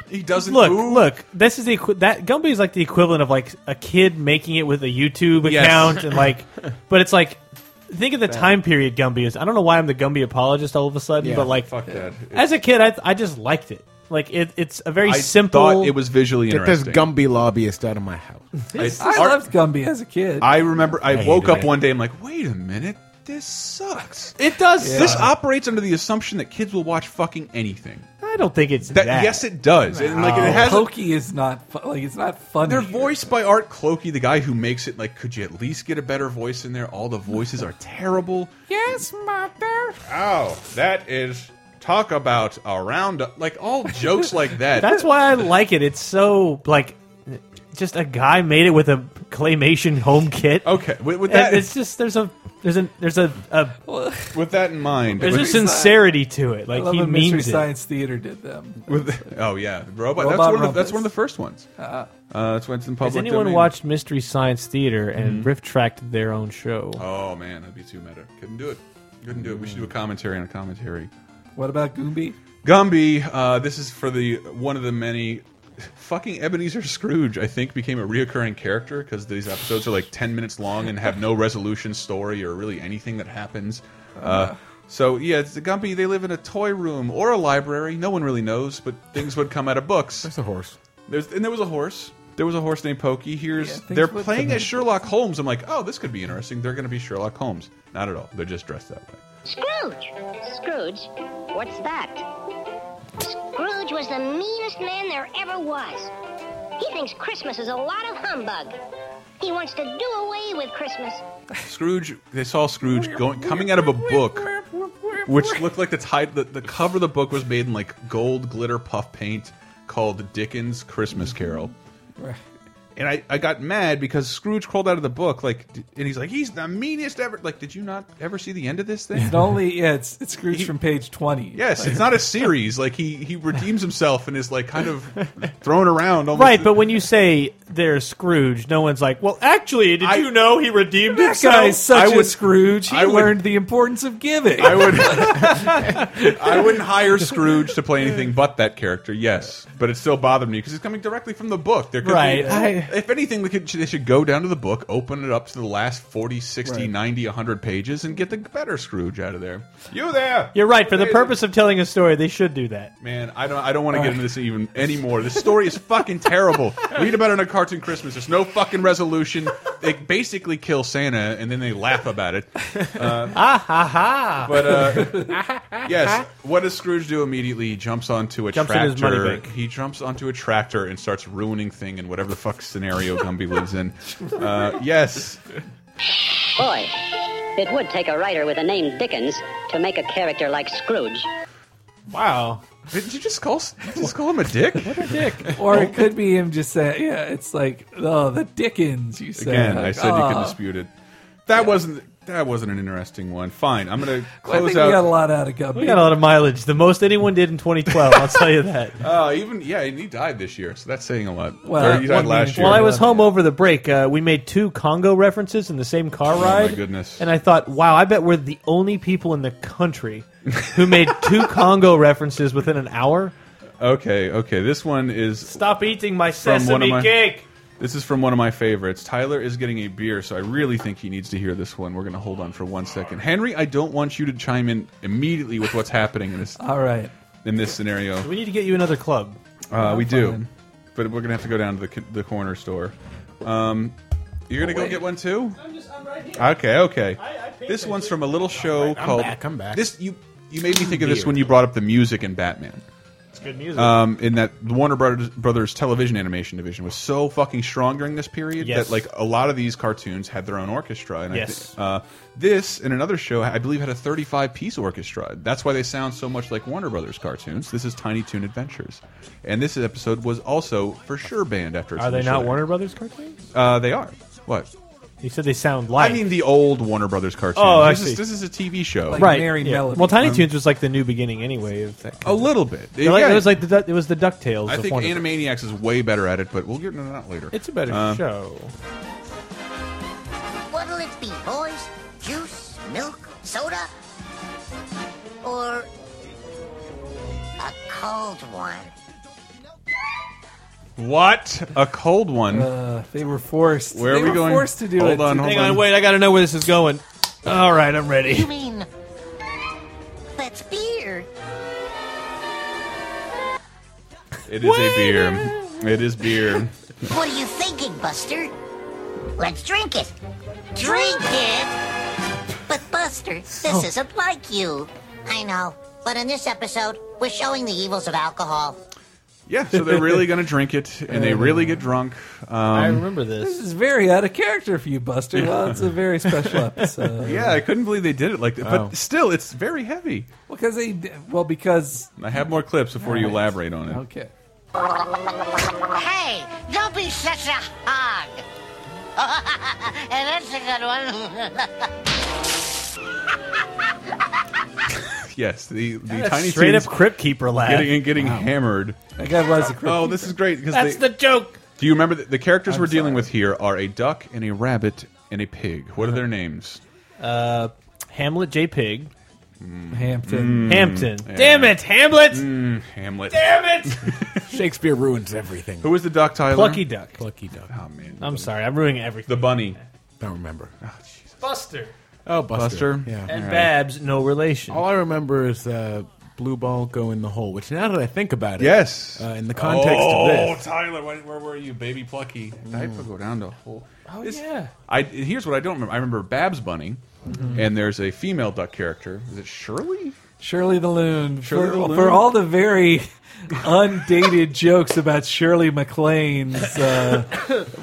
Speaker 1: He doesn't
Speaker 6: look.
Speaker 1: move.
Speaker 6: Look, this is the equi- that Gumby is like the equivalent of like a kid making it with a YouTube
Speaker 1: Yes.
Speaker 6: account and like, but it's like. Think of the
Speaker 1: Bad.
Speaker 6: time period Gumby is. I don't know why I'm the Gumby apologist all of a sudden,
Speaker 1: Yeah,
Speaker 6: but like,
Speaker 1: fuck that.
Speaker 6: As a kid, I, I just liked it. Like it, it's a very
Speaker 1: I
Speaker 6: simple.
Speaker 1: thought it was visually
Speaker 5: Get this
Speaker 1: interesting.
Speaker 5: Gumby lobbyist out of my house.
Speaker 4: I loved Gumby as a kid.
Speaker 1: I remember I,
Speaker 5: I
Speaker 1: woke up
Speaker 5: hated it.
Speaker 1: one day. I'm like, wait a minute, this sucks.
Speaker 6: It does
Speaker 4: Yeah.
Speaker 1: This operates under the assumption that kids will watch fucking anything.
Speaker 6: I don't think it's
Speaker 1: That, Yes, it does. And like it has. a-
Speaker 4: Pokey is not fu- like it's not funny.
Speaker 1: They're voiced by Art Clokey, the guy who makes it. Like, could you at least get a better voice in there? All the voices are terrible.
Speaker 4: Yes, mother.
Speaker 1: Ow, that is talk about a roundup. Like all jokes like that.
Speaker 6: That's why I like it. It's so like just a guy made it with a claymation home kit.
Speaker 1: Okay, with, that-
Speaker 6: that it's just there's a there's a there's a, a
Speaker 1: with that in mind.
Speaker 6: there's a
Speaker 1: with-
Speaker 6: sincerity to it. Like
Speaker 4: I love
Speaker 6: he
Speaker 4: when Mystery
Speaker 6: means it.
Speaker 4: Science Theater did them.
Speaker 1: with- oh yeah, robot. that's,
Speaker 4: Robot
Speaker 1: one of the, that's
Speaker 4: Rumpus.
Speaker 1: one of the first ones.
Speaker 4: Uh,
Speaker 1: Uh, that's when it's in public.
Speaker 6: Has anyone
Speaker 1: domain.
Speaker 6: watched Mystery Science Theater and
Speaker 1: Mhm.
Speaker 6: riff tracked their own show?
Speaker 1: Oh man, that'd be too meta. Couldn't do it. Couldn't do it. We should do a commentary on a commentary.
Speaker 4: what about Goomby?
Speaker 1: Gumby, uh, this is for the one of the many. Fucking Ebenezer Scrooge, I think, became a reoccurring character because these episodes are like ten minutes long and have no resolution story or really anything that happens. Uh, so yeah, it's the Gumby. They live in a toy room or a library. No one really knows, but things would come out of books. There's
Speaker 5: a horse.
Speaker 1: There's and there was a horse. There was a horse named Pokey. Here's
Speaker 6: things
Speaker 1: they're
Speaker 6: would
Speaker 1: playing
Speaker 6: come
Speaker 1: as Sherlock Holmes. I'm like, oh, this could be interesting. They're going to be Sherlock Holmes. Not at all. They're just dressed that way.
Speaker 11: Scrooge. Scrooge? What's that? Scrooge was the meanest man there ever was. He thinks Christmas is a lot of humbug. He wants to do away with Christmas.
Speaker 1: Scrooge, they saw Scrooge going coming out of a book, which looked like the tide. The, the cover of the book was made in like gold glitter puff paint, called Dickens' Christmas Carol. And I, I got mad because Scrooge crawled out of the book like, d- and he's like, he's the meanest ever. Like, did you not ever see the end of this thing?
Speaker 4: It's only yeah, it's it's Scrooge from page twenty.
Speaker 1: Yes, it's not a series. Like he he redeems himself and is like kind of thrown around. Almost
Speaker 6: Right, but when you say they're Scrooge, no one's like, "Well, actually, did
Speaker 1: I-
Speaker 6: you know he redeemed
Speaker 4: That
Speaker 6: himself?"
Speaker 4: guy's such
Speaker 6: I
Speaker 4: a Scrooge. He
Speaker 1: I would-
Speaker 4: learned the importance of giving.
Speaker 1: I would I wouldn't hire Scrooge to play anything but that character. Yes, but it still bothered me because it's coming directly from the book. There could
Speaker 6: Right,
Speaker 1: Be,
Speaker 6: I-
Speaker 1: if anything, they, could, they should go down to the book, open it up to the last 40, 60,
Speaker 6: Right.
Speaker 1: 90, 100 pages, and get the better Scrooge out of there. You there?
Speaker 6: You're right. For the purpose of telling a story, they should do that.
Speaker 1: Man, I don't. I don't want
Speaker 6: Uh.
Speaker 1: to get into this even anymore. This story is fucking terrible. Read about it in a cartoon Christmas. There's no fucking resolution. They basically kill Santa and then they laugh about it. Uh,
Speaker 6: Ah ha ha!
Speaker 1: but uh, yes, what does Scrooge do immediately? He jumps onto a
Speaker 6: Jumps in
Speaker 1: tractor.
Speaker 6: his money bank.
Speaker 1: He jumps onto a tractor and starts ruining thing in whatever the fuck scenario Gumby lives in. Uh, yes,
Speaker 9: Boy, it would take a writer with a name Dickens to make a character like Scrooge.
Speaker 6: Wow.
Speaker 1: Did you just call you just call him a dick? What
Speaker 6: a dick!
Speaker 4: or it could be him just saying, "Yeah, it's like oh, the Dickens." You said
Speaker 1: again, I
Speaker 4: Like,
Speaker 1: said you could
Speaker 4: "Oh."
Speaker 1: dispute it. That wasn't that wasn't an interesting one. Fine, I'm gonna
Speaker 4: I think
Speaker 1: close
Speaker 4: we
Speaker 1: out.
Speaker 4: got a lot out of Gumby.
Speaker 6: We got a lot of mileage. The most anyone did in 2012. I'll tell you that.
Speaker 1: Uh, even yeah, and he died this year, so that's saying a lot.
Speaker 6: Well,
Speaker 1: Or he died last year.
Speaker 6: While I was home over the break, uh, we made two Congo references in the same car
Speaker 1: Oh, my
Speaker 6: ride.
Speaker 1: goodness.
Speaker 6: And I thought, wow, I bet we're the only people in the country who made two Congo references within an hour.
Speaker 1: Okay, okay. This one is
Speaker 6: Stop eating my
Speaker 1: from one of
Speaker 6: sesame
Speaker 1: my-
Speaker 6: cake.
Speaker 1: This is from one of my favorites. Tyler is getting a beer, so I really think he needs to hear this one. We're going to hold on for one second. Henry, I don't want you to chime in immediately with what's happening in this.
Speaker 4: All right.
Speaker 1: In this scenario,
Speaker 6: We need to get you another club.
Speaker 1: uh, we
Speaker 6: I'm
Speaker 1: do,
Speaker 6: fine.
Speaker 1: but we're going to have to go down to the co- the corner store. Um, you're going to go get one too. I'm just, I'm right here. Okay, okay. this one's from a little show
Speaker 5: I'm
Speaker 1: called.
Speaker 5: back, I'm back.
Speaker 1: This you you made me think of this
Speaker 5: Beer.
Speaker 1: when you brought up the music in Batman.
Speaker 6: It's good music.
Speaker 1: Um, in that the Warner Brothers, Brothers television animation division was so fucking strong during this period
Speaker 6: Yes.
Speaker 1: that like a lot of these cartoons had their own orchestra. And
Speaker 6: Yes.
Speaker 1: I thi- uh, this and another show I believe had a 35 piece orchestra. That's why they sound so much like Warner Brothers cartoons. This is Tiny Toon Adventures, and this episode was also for sure banned after. Its
Speaker 6: Are they
Speaker 1: initial
Speaker 6: not
Speaker 1: air.
Speaker 6: Warner Brothers cartoons?
Speaker 1: Uh, they are. What?
Speaker 6: You said they sound like.
Speaker 1: I mean the old Warner Brothers cartoons.
Speaker 6: Oh, I
Speaker 1: this
Speaker 6: see.
Speaker 1: Is, this is a TV show,
Speaker 6: right? yeah. Well, Tiny Toons was like the new beginning anyway. Of that
Speaker 1: A little bit.
Speaker 6: They're like-
Speaker 1: Um, Yeah.
Speaker 6: it was like the Du- it was the Ducktales.
Speaker 1: I
Speaker 6: of
Speaker 1: think
Speaker 6: Warner Bros.
Speaker 1: Animaniacs is way better at it, but we'll get into that later.
Speaker 6: It's a better
Speaker 1: Uh,
Speaker 6: show.
Speaker 20: What'll it be, boys? Juice, milk, soda? Or a cold one?
Speaker 1: What? A cold one.
Speaker 4: Uh, they were forced.
Speaker 1: Where
Speaker 4: They
Speaker 1: are we
Speaker 4: were
Speaker 1: going?
Speaker 4: forced to do
Speaker 1: hold
Speaker 4: it.
Speaker 1: On, hold
Speaker 6: Hang on, wait. I got to know where this is going. All right, I'm ready.
Speaker 20: You mean that's beer?
Speaker 1: It is a beer. It is beer.
Speaker 20: What are you thinking, Buster? Let's drink it. Drink it. But Buster, this
Speaker 14: Oh.
Speaker 20: isn't like you. I know, but in this episode, we're showing the evils of alcohol.
Speaker 1: Yeah, so they're really going to drink it, and they really get drunk. Um, I
Speaker 6: remember this.
Speaker 4: This is very out of character for you, Buster. Well, it's a very special episode.
Speaker 1: yeah, I couldn't believe they did it like that.
Speaker 4: Oh.
Speaker 1: But still, it's very heavy.
Speaker 4: because they d- well because
Speaker 1: I have more clips before you elaborate on it.
Speaker 4: Okay.
Speaker 20: Hey, don't be such a hog. and that's a good one.
Speaker 1: Yes, the, the
Speaker 6: That's
Speaker 1: tiny
Speaker 6: straight
Speaker 1: Toons
Speaker 6: up Crypt Keeper laugh.
Speaker 1: getting getting
Speaker 6: Wow.
Speaker 1: hammered.
Speaker 4: That guy was a
Speaker 1: Oh, this is great because
Speaker 6: That's
Speaker 1: they,
Speaker 6: the joke.
Speaker 1: Do you remember the, the characters
Speaker 6: I'm
Speaker 1: we're dealing with here are a duck and a rabbit and a pig? What are their names?
Speaker 6: Uh, Hamlet J. Pig.
Speaker 4: Hampton.
Speaker 6: Hampton.
Speaker 1: Hmm, Yeah.
Speaker 6: Damn it, Hamlet.
Speaker 1: Mm, Hamlet.
Speaker 6: Damn it.
Speaker 1: Mm.
Speaker 5: Shakespeare ruins everything.
Speaker 1: Who was the duck, Tyler?
Speaker 6: Plucky Duck.
Speaker 5: Lucky Duck.
Speaker 1: Oh man,
Speaker 6: I'm sorry. I'm ruining everything.
Speaker 1: The bunny.
Speaker 5: Don't remember.
Speaker 6: Buster.
Speaker 5: Oh, Buster.
Speaker 6: Buster.
Speaker 5: Yeah.
Speaker 6: And Babs, no relation.
Speaker 5: All I remember is uh, blue ball go in the hole. Which now that I think about it,
Speaker 1: Yes.
Speaker 5: uh, in the context
Speaker 1: oh,
Speaker 5: of this,
Speaker 1: Tyler, where, where were you, baby Plucky? Diaper Mm. go down to a hole.
Speaker 6: Oh yeah.
Speaker 1: I here's what I don't remember. I remember Babs Bunny,
Speaker 4: Mhm.
Speaker 1: and there's a female duck character. Is it Shirley?
Speaker 4: Shirley the Loon.
Speaker 1: Shirley
Speaker 4: for,
Speaker 1: the Loon.
Speaker 4: for all the very undated jokes about Shirley MacLaine's uh,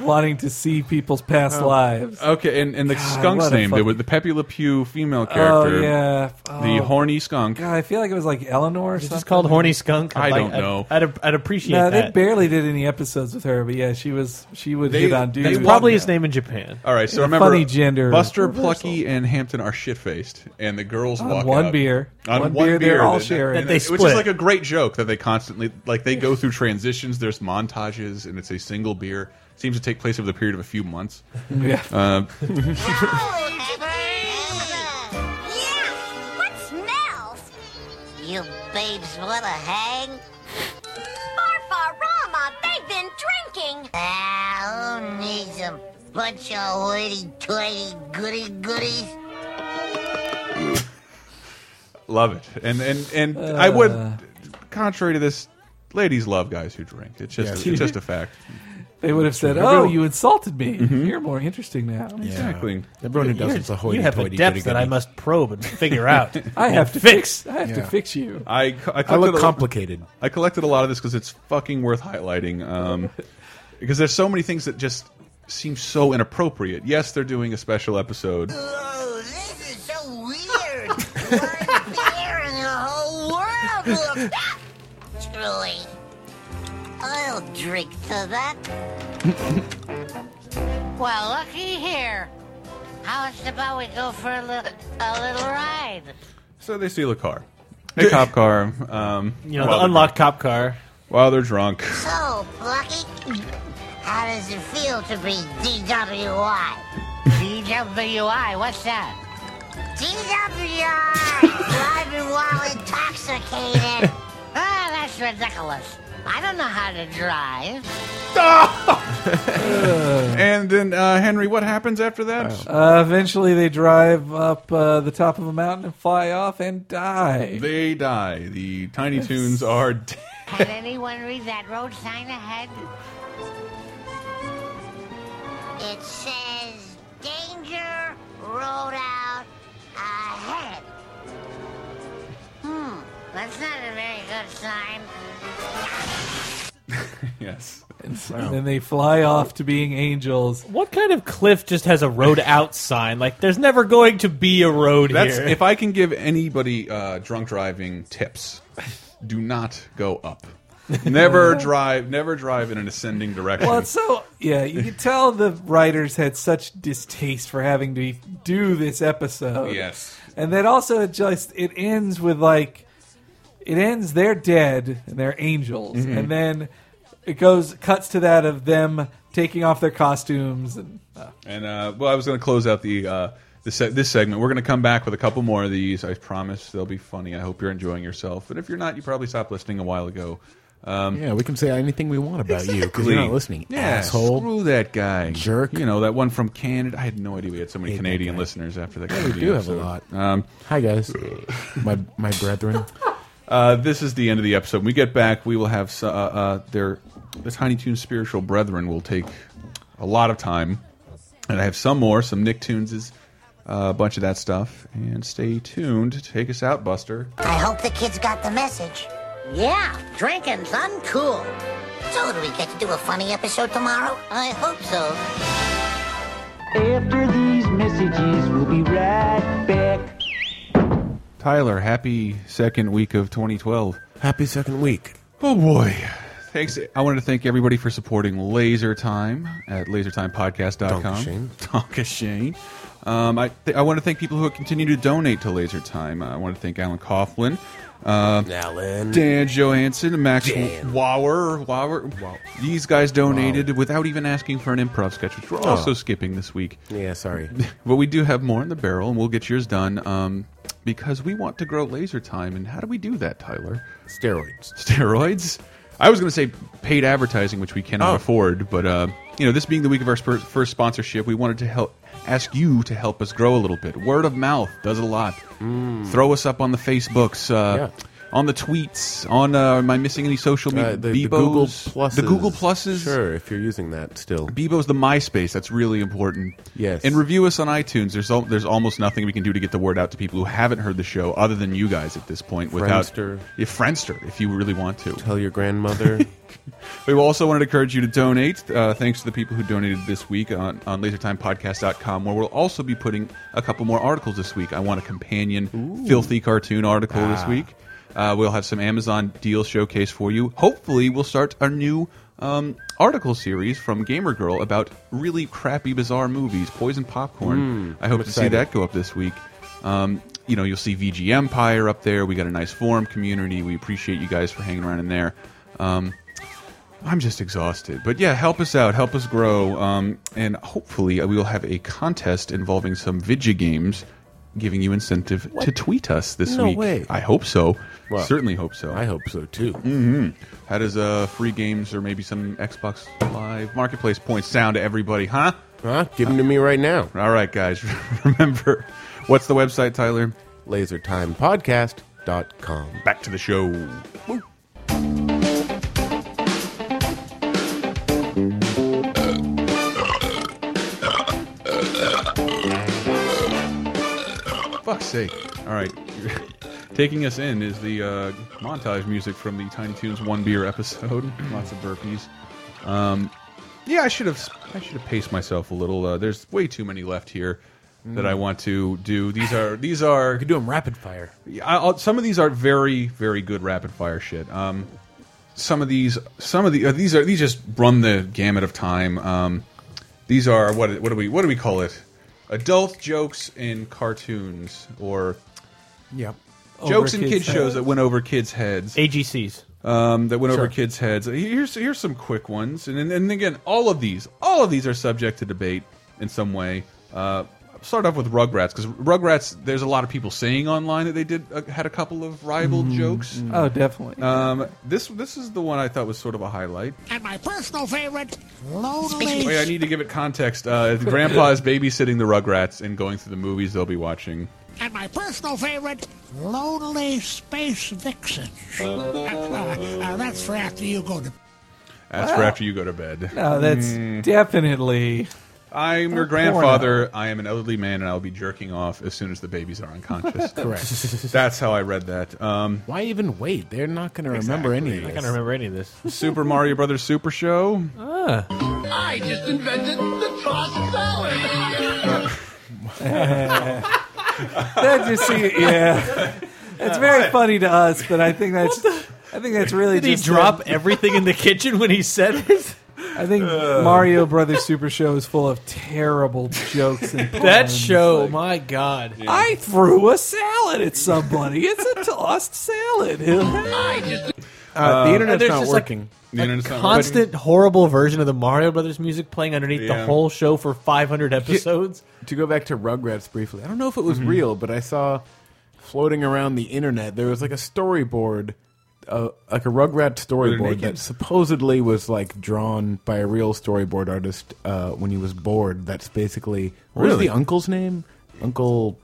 Speaker 4: wanting to see people's past
Speaker 6: Oh.
Speaker 4: lives. Oh,
Speaker 1: Okay, and, and the
Speaker 4: God,
Speaker 1: skunk's
Speaker 4: what a
Speaker 1: name. There
Speaker 4: fuck-
Speaker 1: was the Pepe Le Pew female
Speaker 4: Oh
Speaker 1: character.
Speaker 4: yeah,
Speaker 1: The
Speaker 4: Oh.
Speaker 1: horny skunk.
Speaker 4: God, I feel like it was like Eleanor. Or
Speaker 6: Is this
Speaker 4: something.
Speaker 6: called Horny Skunk?
Speaker 1: I
Speaker 6: I'd
Speaker 1: don't know.
Speaker 6: I'd, I'd, I'd appreciate
Speaker 4: No, they
Speaker 6: that.
Speaker 4: barely did any episodes with her, but yeah, she was she would hit on dudes.
Speaker 6: That's probably his name in Japan.
Speaker 1: All right, so
Speaker 4: In a
Speaker 1: remember,
Speaker 4: funny gender
Speaker 1: Buster,
Speaker 4: reversal.
Speaker 1: Plucky, and Hampton are shit faced, and the girls
Speaker 4: On
Speaker 1: walk
Speaker 4: one
Speaker 1: out.
Speaker 4: beer.
Speaker 1: on one,
Speaker 4: One beer, they're all
Speaker 1: that-
Speaker 4: sharing.
Speaker 1: and
Speaker 4: That they
Speaker 1: it- which is
Speaker 4: split.
Speaker 1: like a great joke that they constantly like. They go through transitions. There's montages, and it's a single beer. Seems to take place over the period of a few months.
Speaker 4: Yeah.
Speaker 1: Um,
Speaker 20: What smells? You babes want to hang?
Speaker 14: Farfarama, they've been drinking.
Speaker 20: Ah, who needs them? Bunch of hoity-toity goody-goodies.
Speaker 1: love it, and and and I
Speaker 4: Uh.
Speaker 1: would, contrary to this, ladies love guys who drink. It's just
Speaker 4: Yes.
Speaker 1: it's just a fact.
Speaker 4: They would have said, "Oh, you insulted me.
Speaker 1: Mm-hmm.
Speaker 4: You're more interesting now."
Speaker 1: Exactly.
Speaker 5: Everyone who does
Speaker 6: You're-
Speaker 5: it's a
Speaker 6: You have a
Speaker 5: hoity-toity,
Speaker 6: depth that I
Speaker 5: goody-goody.
Speaker 6: must probe and figure out.
Speaker 4: I have to fix. I have to
Speaker 1: Yeah.
Speaker 4: fix you.
Speaker 1: I, co- I,
Speaker 5: I look
Speaker 1: collected a-
Speaker 5: complicated.
Speaker 1: I collected a lot of this because it's fucking worth highlighting. Um, because there's so many things that just seem so inappropriate. Yes, they're doing a special episode.
Speaker 20: Oh, this is so weird. One beer and the whole world looks. Truly. I'll drink to that. well, looky here. How's about we go for a little, a little ride?
Speaker 1: So they steal a car, a cop car. Um,
Speaker 6: You know, the
Speaker 1: while
Speaker 6: unlocked cop car.
Speaker 1: While they're drunk.
Speaker 20: So, Plucky, how does it feel to be DWI? DWI, what's that? DWI! Driving while intoxicated. ah, that's It's ridiculous. I don't know how to drive.
Speaker 1: and then uh, Henry, what happens after that?
Speaker 6: Oh.
Speaker 4: Uh, eventually, they drive up uh, the top of a mountain and fly off and die.
Speaker 1: They die. The Tiny Toons are dead.
Speaker 20: Had anyone read that road sign ahead? It says danger road out ahead. Hmm, that's not a very good sign.
Speaker 1: yes. oh.
Speaker 4: And then they fly off to being angels.
Speaker 6: What kind of cliff just has a road out sign? Like, there's never going to be a road
Speaker 1: That's
Speaker 6: here.
Speaker 1: if I can give anybody uh, drunk driving tips. Do not go up. Never drive. Never drive in an ascending direction.
Speaker 4: Well, it's so yeah. You could tell the writers had such distaste for having to do this episode.
Speaker 1: Yes.
Speaker 4: and then also it just it ends with like it ends. They're dead and they're angels,
Speaker 5: Mhm.
Speaker 4: and then it goes cuts to that of them taking off their costumes and uh,
Speaker 1: And uh, well, I was going to close out the uh, the se this segment. We're going to come back with a couple more of these. I promise they'll be funny. I hope you're enjoying yourself. And if you're not, you probably stopped listening a while ago. Um,
Speaker 5: Yeah, we can say anything we want about you because
Speaker 1: Exactly.
Speaker 5: you're not listening,
Speaker 1: Yeah,
Speaker 5: asshole.
Speaker 1: Screw that guy, jerk. You know that one from Canada. I had no idea we had so many Canadian listeners after that.
Speaker 5: Yeah, we
Speaker 1: Canadian
Speaker 5: do have a
Speaker 1: episode.
Speaker 5: lot.
Speaker 1: Um,
Speaker 5: Hi guys, my my brethren.
Speaker 1: Uh, this is the end of the episode. When we get back, we will have so- uh, uh, their the Tiny Toon spiritual brethren will take a lot of time, and I have some more, some Nicktoons, uh, a bunch of that stuff. And stay tuned. Take us out, Buster.
Speaker 20: I hope the kids got the message. Yeah, drinking's uncool. So do we get to do a funny episode tomorrow? I hope so.
Speaker 21: After these messages, we'll be right back.
Speaker 1: Tyler, happy second week of 2012.
Speaker 5: Happy second week.
Speaker 1: Oh boy. Thanks. I wanted to thank everybody for supporting Laser Time at
Speaker 5: Donka
Speaker 1: lasertimepodcast.com.
Speaker 5: Shane.
Speaker 1: Donka Shane. Um, I, th- I want to thank people who continue to donate to Laser Time. I want to thank Alan Coughlin, uh,
Speaker 5: Alan.
Speaker 1: Dan Johansson, Max
Speaker 5: Dan.
Speaker 1: Wauer. Wauer. These guys donated without even asking for an improv sketch, which we're
Speaker 5: Oh.
Speaker 1: also skipping this week.
Speaker 5: Yeah, sorry.
Speaker 1: But we do have more in the barrel, and we'll get yours done um, because we want to grow laser time. And how do we do that, Tyler?
Speaker 5: Steroids.
Speaker 1: Steroids? I was going to say paid advertising, which we
Speaker 5: Oh.
Speaker 1: cannot afford. But uh, you know, this being the week of our spir- first sponsorship, we wanted to help ask you to help us grow a little bit. Word of mouth does a lot.
Speaker 5: Mm.
Speaker 1: Throw us up on the Facebooks. Uh, On the tweets, on uh, am I missing any social media?
Speaker 5: Uh, the, the Google
Speaker 1: Bebos?
Speaker 5: Pluses.
Speaker 1: the Google Pluses,
Speaker 5: Sure, if you're using that still.
Speaker 1: Bebo's the MySpace. That's really important.
Speaker 5: Yes.
Speaker 1: And review us on iTunes. There's al there's almost nothing we can do to get the word out to people who haven't heard the show, other than you guys at this point. Without
Speaker 5: Friendster.
Speaker 1: Yeah, Friendster, if you really want to.
Speaker 5: Tell your grandmother.
Speaker 1: we also wanted to encourage you to donate. Uh, thanks to the people who donated this week on, on LaserTimePodcast.com, where we'll also be putting a couple more articles this week. I want a companion filthy cartoon article this
Speaker 5: Ah.
Speaker 1: week. Uh, we'll have some Amazon deal showcase for you. Hopefully, we'll start our new um, article series from Gamer Girl about really crappy, bizarre movies, Poison Popcorn.
Speaker 5: Mm,
Speaker 1: I hope
Speaker 5: I'm
Speaker 1: to see
Speaker 5: excited.
Speaker 1: that go up this week. Um, you know, you'll see VG Empire up there. We got a nice forum community. We appreciate you guys for hanging around in there. Um, I'm just exhausted. But yeah, help us out. Help us grow. Um, and hopefully, we will have a contest involving some Vidya games giving you incentive to tweet us this
Speaker 5: No
Speaker 1: week.
Speaker 5: way.
Speaker 1: I hope so.
Speaker 5: Well,
Speaker 1: Certainly hope so.
Speaker 5: I hope so too.
Speaker 1: hmm How does uh, free games or maybe some Xbox Live Marketplace points sound to everybody, huh?
Speaker 5: Huh? Give them to me right now.
Speaker 1: All right, guys. Remember, what's the website, Tyler?
Speaker 5: LaserTimePodcast.com.
Speaker 1: Back to the show. Fuck's sake. All right. Taking us in is the uh, montage music from the Tiny Toons One Beer episode. Lots of burpees. Um, yeah, I should have I should have paced myself a little. Uh, there's way too many left here that I want to do. These are these are you can
Speaker 5: do them rapid fire.
Speaker 1: I'll, some of these are very very good rapid fire shit. Um, some of these some of the uh, these are these just run the gamut of time. Um, these are what what do we what do we call it? Adult jokes in cartoons or
Speaker 5: Yep.
Speaker 1: jokes in kids shows that went over kids' heads.
Speaker 6: AGCs.
Speaker 1: Um, that went over
Speaker 6: Sure.
Speaker 1: kids' heads. Here's here's some quick ones, and, and and again, all of these, all of these are subject to debate in some way. Uh, start off with Rugrats because Rugrats. There's a lot of people saying online that they did uh, had a couple of rival
Speaker 4: Mhm.
Speaker 1: jokes.
Speaker 4: Mhm. Oh, definitely.
Speaker 1: Um, this this is the one I thought was sort of a highlight.
Speaker 3: And my personal favorite,
Speaker 1: Wait, Oh, I
Speaker 3: Lonely.
Speaker 1: need to give it context. Uh, Grandpa is babysitting the Rugrats and going through the movies they'll be watching.
Speaker 3: And my personal favorite, Lonely Space Vixen. Uh, uh, that's for after you go to.
Speaker 1: That's for
Speaker 3: Wow.
Speaker 1: after you go to bed.
Speaker 4: No, Oh, that's definitely.
Speaker 1: I'm your
Speaker 4: porno.
Speaker 1: grandfather. I am an elderly man, and I will be jerking off as soon as the babies are unconscious.
Speaker 5: Correct.
Speaker 1: That's how I read that. Um,
Speaker 5: Why even wait? They're not going to remember any of this.
Speaker 1: Not
Speaker 6: gonna remember any of this.
Speaker 1: Super Mario Brothers Super Show.
Speaker 7: I just invented the tossed salad.
Speaker 4: that just see, yeah. It's very funny to us, but I think that's. I think that's really
Speaker 6: Did he
Speaker 4: just
Speaker 6: drop
Speaker 4: them-
Speaker 6: everything in the kitchen when he said it?
Speaker 4: I think Mario Brothers Super Show is full of terrible jokes and
Speaker 6: That
Speaker 4: puns.
Speaker 6: show, my God.
Speaker 4: I threw a salad at somebody. It's a tossed salad.
Speaker 5: Uh, the internet's
Speaker 6: and there's
Speaker 5: not
Speaker 6: just, like,
Speaker 5: working.
Speaker 6: a
Speaker 5: The internet's not
Speaker 6: constant horrible version of the Mario Brothers music playing underneath
Speaker 5: Yeah.
Speaker 6: the whole show for 500 episodes.
Speaker 5: To go back to Rugrats briefly, I don't know if it was real, but I saw floating around the internet there was like a storyboard, uh, like a Rugrat storyboard
Speaker 1: naked?
Speaker 5: that supposedly was like drawn by a real storyboard artist uh, when he was bored. That's basically what was
Speaker 1: Really?
Speaker 5: the uncle's name? Uncle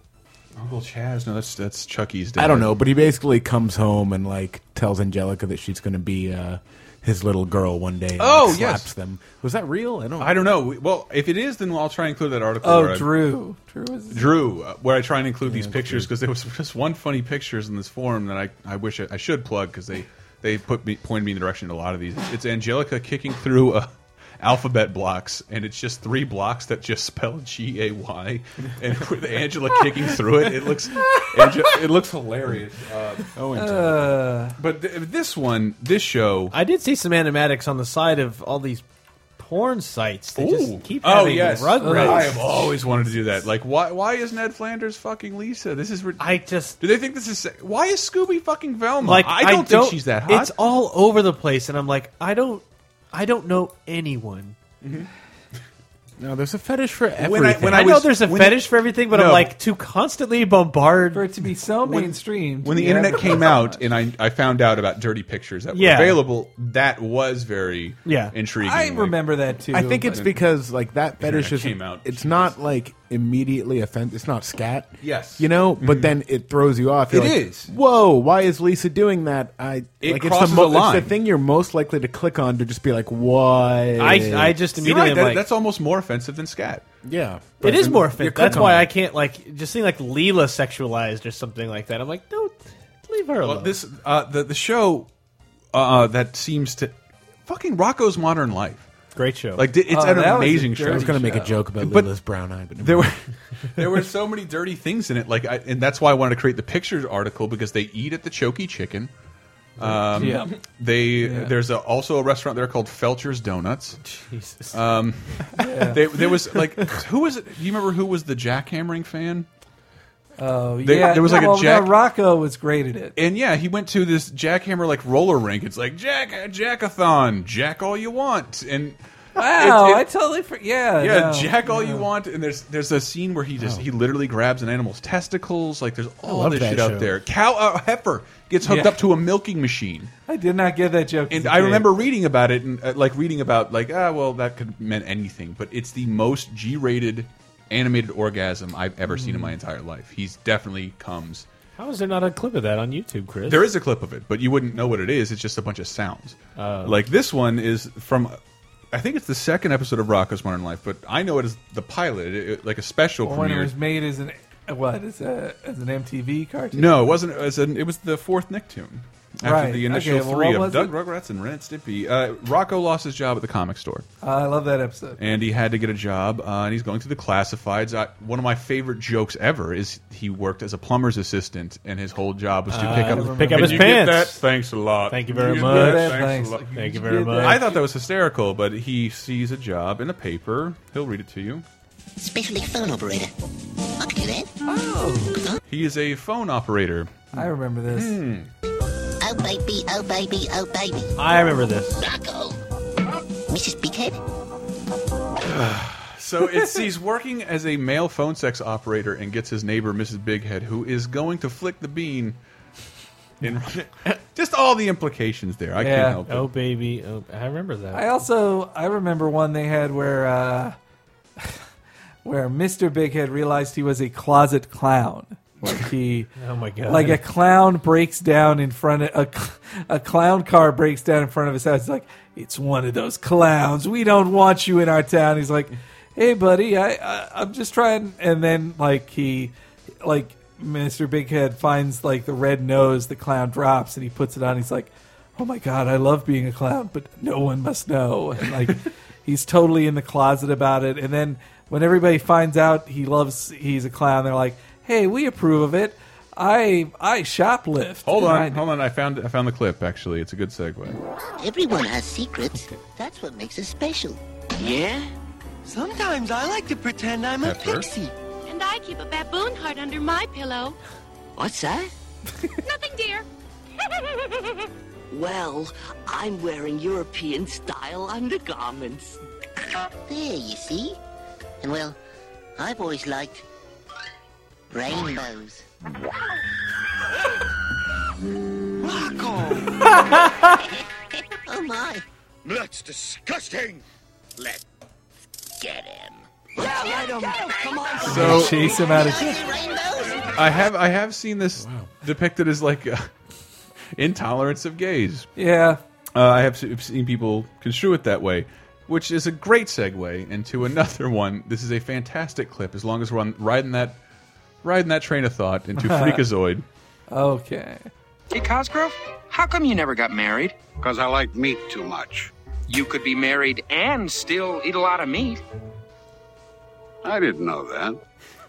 Speaker 1: Uncle Chaz. No, that's that's Chucky's dad.
Speaker 5: I don't know, but he basically comes home and like tells Angelica that she's going to be uh, his little girl one day. And,
Speaker 1: Oh,
Speaker 5: like,
Speaker 1: yes.
Speaker 5: slaps them. Was that real? I don't.
Speaker 1: I don't know. We- Well, if it is, then I'll try and include that article.
Speaker 4: Oh,
Speaker 1: where I-
Speaker 4: Drew. Drew is-
Speaker 1: Drew, uh, where I try and include these pictures because there was just one funny pictures in this forum that I, I wish I, I should plug because they they put me pointed me in the direction of a lot of these. It's Angelica kicking through uh alphabet blocks, and it's just three blocks that just spell G A Y, and with Angela kicking through it, it looks Ange- it looks hilarious. Uh, oh, but th this one, this show,
Speaker 6: I did see some animatics on the side of all these porn sites. They
Speaker 1: Ooh.
Speaker 6: just keep
Speaker 1: oh
Speaker 6: having
Speaker 1: yes,
Speaker 6: Rugrats.
Speaker 1: I have always wanted to do that. Like, why? Why is Ned Flanders fucking Lisa? This is.
Speaker 6: I just.
Speaker 1: Do they think this is? se- Why is Scooby fucking Velma?
Speaker 6: like
Speaker 1: I don't, think she's that hot.
Speaker 6: It's all over the place, and I'm like, I don't, I don't know anyone.
Speaker 5: No, there's a fetish for everything.
Speaker 6: When I, know there's a fetish for everything, but
Speaker 1: No.
Speaker 6: I'm like to constantly bombard
Speaker 4: for it to be so mainstream.
Speaker 1: when the
Speaker 4: Yeah.
Speaker 1: internet came out and I, I found out about dirty pictures that were
Speaker 4: Yeah.
Speaker 1: available, that was very intriguing. Like,
Speaker 5: I think it's because like that
Speaker 1: Internet
Speaker 5: fetish is
Speaker 1: came out.
Speaker 5: It's not like immediately offensive. It's not scat.
Speaker 1: Yes.
Speaker 5: you know. But then it throws you off. You're
Speaker 1: It
Speaker 5: like,
Speaker 1: is.
Speaker 5: Whoa, why is Lisa doing that? I
Speaker 1: It
Speaker 5: like it's
Speaker 1: crosses
Speaker 5: the, mo-
Speaker 1: a line.
Speaker 5: it's the thing you're most likely to click on to just be like, why?
Speaker 6: I- I just
Speaker 1: You're
Speaker 6: immediately
Speaker 1: right,
Speaker 6: am
Speaker 1: that-
Speaker 6: like-
Speaker 1: that's almost more offensive than scat.
Speaker 5: Yeah,
Speaker 6: it is more offensive. That's why
Speaker 1: I.
Speaker 6: I can't like just seeing like Leela sexualized or something like that. I'm like, don't leave her alone.
Speaker 1: Well, this uh, the the show uh, that seems to fucking Rocco's Modern Life.
Speaker 6: Great show.
Speaker 1: Like di- it's
Speaker 5: Oh,
Speaker 1: an
Speaker 5: that was a
Speaker 1: amazing show.
Speaker 5: dirty I was gonna make a show. joke about Lila's brown eye, but never
Speaker 1: there were there were so many dirty things in it. Like, I, and that's why I wanted to create the pictures article because they eat at the Choky Chicken. Um,
Speaker 6: Yeah.
Speaker 1: They
Speaker 6: Yeah.
Speaker 1: there's a, also a restaurant there called Felcher's Donuts.
Speaker 6: Jesus.
Speaker 1: Um,
Speaker 4: Yeah.
Speaker 1: they, there was like who was it? Do you remember who was the jackhammering fan?
Speaker 4: Oh
Speaker 1: They-
Speaker 4: yeah,
Speaker 1: there was, like, a
Speaker 4: No, well,
Speaker 1: jack-
Speaker 4: no, Rocco was great at it.
Speaker 1: And yeah, he went to this jackhammer like roller rink. It's like jack jackathon, jack all you want, and
Speaker 4: Wow,
Speaker 1: it- it-
Speaker 4: I totally forgot. Yeah,
Speaker 1: yeah,
Speaker 4: no,
Speaker 1: jack all you
Speaker 4: no.
Speaker 1: want. And there's there's a scene where he just he literally grabs an animal's testicles. Like there's all
Speaker 4: love
Speaker 1: this
Speaker 4: that
Speaker 1: shit
Speaker 4: show.
Speaker 1: out there. Cow uh, heifer gets hooked
Speaker 4: Yeah.
Speaker 1: up to a milking machine.
Speaker 4: I did not get that joke. as
Speaker 1: And
Speaker 4: a
Speaker 1: I
Speaker 4: kid.
Speaker 1: remember reading about it and uh, like reading about like ah well that could have meant anything, but it's the most G-rated animated orgasm I've ever seen in
Speaker 4: Mm.
Speaker 1: my entire life. He's definitely comes.
Speaker 6: How is there not a clip of that on YouTube, Chris?
Speaker 1: There is a clip of it, but you wouldn't know what it is. It's just a bunch of sounds.
Speaker 4: Oh.
Speaker 1: like this one is from, I think it's the second episode of Rocco's Modern Life, but I know it as the pilot, it, it- like a special
Speaker 4: Or when it
Speaker 1: premiere.
Speaker 4: was made as an what as a as an MTV cartoon.
Speaker 1: No, it wasn't. It was, an, it was the fourth Nicktoon after
Speaker 4: Right.
Speaker 1: the initial
Speaker 4: Okay, well,
Speaker 1: three
Speaker 4: what
Speaker 1: of
Speaker 4: was
Speaker 1: Doug
Speaker 4: it?
Speaker 1: Rugrats and Ren and Stimpy. Uh, Rocco lost his job at the comic store.
Speaker 4: I love that episode.
Speaker 1: and he had to get a job, uh, and he's going through the classifieds. I, one of my favorite jokes ever is he worked as a plumber's assistant, and his whole job was to
Speaker 6: Uh,
Speaker 1: pick
Speaker 6: I
Speaker 1: up
Speaker 6: remember Pick up
Speaker 1: "Can
Speaker 6: his
Speaker 1: you get
Speaker 6: pants."
Speaker 1: that? Thanks a lot.
Speaker 6: Thank you
Speaker 1: "Can
Speaker 6: very
Speaker 1: get
Speaker 6: much.
Speaker 1: that?
Speaker 6: Thanks.
Speaker 1: a lot."
Speaker 6: Thank you very
Speaker 1: Did that.
Speaker 6: much.
Speaker 1: I thought that was hysterical, but he sees a job in a paper. He'll read it to you.
Speaker 3: Specially phone operator. I can do that.
Speaker 1: He is a phone operator.
Speaker 4: I remember this.
Speaker 6: Hmm.
Speaker 3: Oh baby, oh baby, oh baby.
Speaker 6: I remember this.
Speaker 3: Rocco. Mrs. Bighead.
Speaker 1: So it's he's working as a male phone sex operator and gets his neighbor Mrs. Bighead, who is going to flick the bean. In just all the implications there, I
Speaker 4: Yeah.
Speaker 1: can't help it.
Speaker 6: Oh baby, oh, I remember that.
Speaker 4: I also I remember one they had where uh, where Mr. Bighead realized he was a closet clown. Like he,
Speaker 6: Oh, my God.
Speaker 4: Like a clown breaks down in front of a, cl- a clown car breaks down in front of his house. It's like it's one of those clowns. We don't want you in our town. He's like, hey buddy, I, I I'm just trying. And then like he, like Mr. Bighead finds like the red nose the clown drops and he puts it on. He's like, oh my god, I love being a clown, but no one must know. And like he's totally in the closet about it. And then when everybody finds out he loves he's a clown, they're like, hey, we approve of it. I I shoplift.
Speaker 1: Hold on,
Speaker 4: Right.
Speaker 1: hold on. I found I found the clip. Actually, it's a good segue.
Speaker 20: Everyone has secrets. That's what makes us special.
Speaker 15: Yeah? Sometimes I like to pretend I'm a
Speaker 1: Heifer.
Speaker 15: pixie.
Speaker 8: And I keep a baboon heart under my pillow.
Speaker 15: What's that?
Speaker 8: Nothing, dear.
Speaker 2: Well, I'm wearing European style undergarments.
Speaker 20: There, you see? And well, I've always liked rainbows.
Speaker 18: Oh my.
Speaker 7: That's disgusting. Let's get him.
Speaker 1: So
Speaker 4: chase him out of.
Speaker 1: I have I have seen this depicted as like uh, intolerance of gays.
Speaker 4: Yeah.
Speaker 1: uh, I have se- seen people construe it that way, which is a great segue into another one. This is a fantastic clip. As long as we're on, riding that riding that train of thought into Freakazoid.
Speaker 4: Okay.
Speaker 22: Hey, Cosgrove, how come you never got married? Because I like meat too much. You could be married and still eat a lot of meat.
Speaker 13: I didn't know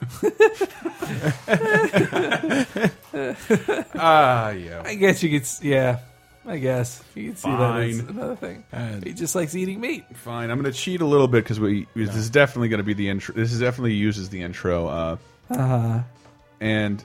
Speaker 13: that.
Speaker 1: Ah, yeah.
Speaker 4: I guess you could. s- Yeah, I guess you could see that as
Speaker 1: Fine.
Speaker 4: another thing. he just likes eating meat.
Speaker 1: Fine, I'm going to cheat a little bit because we this is definitely going to be the intro. This is definitely uses the intro. Uh,
Speaker 4: Uh,
Speaker 1: and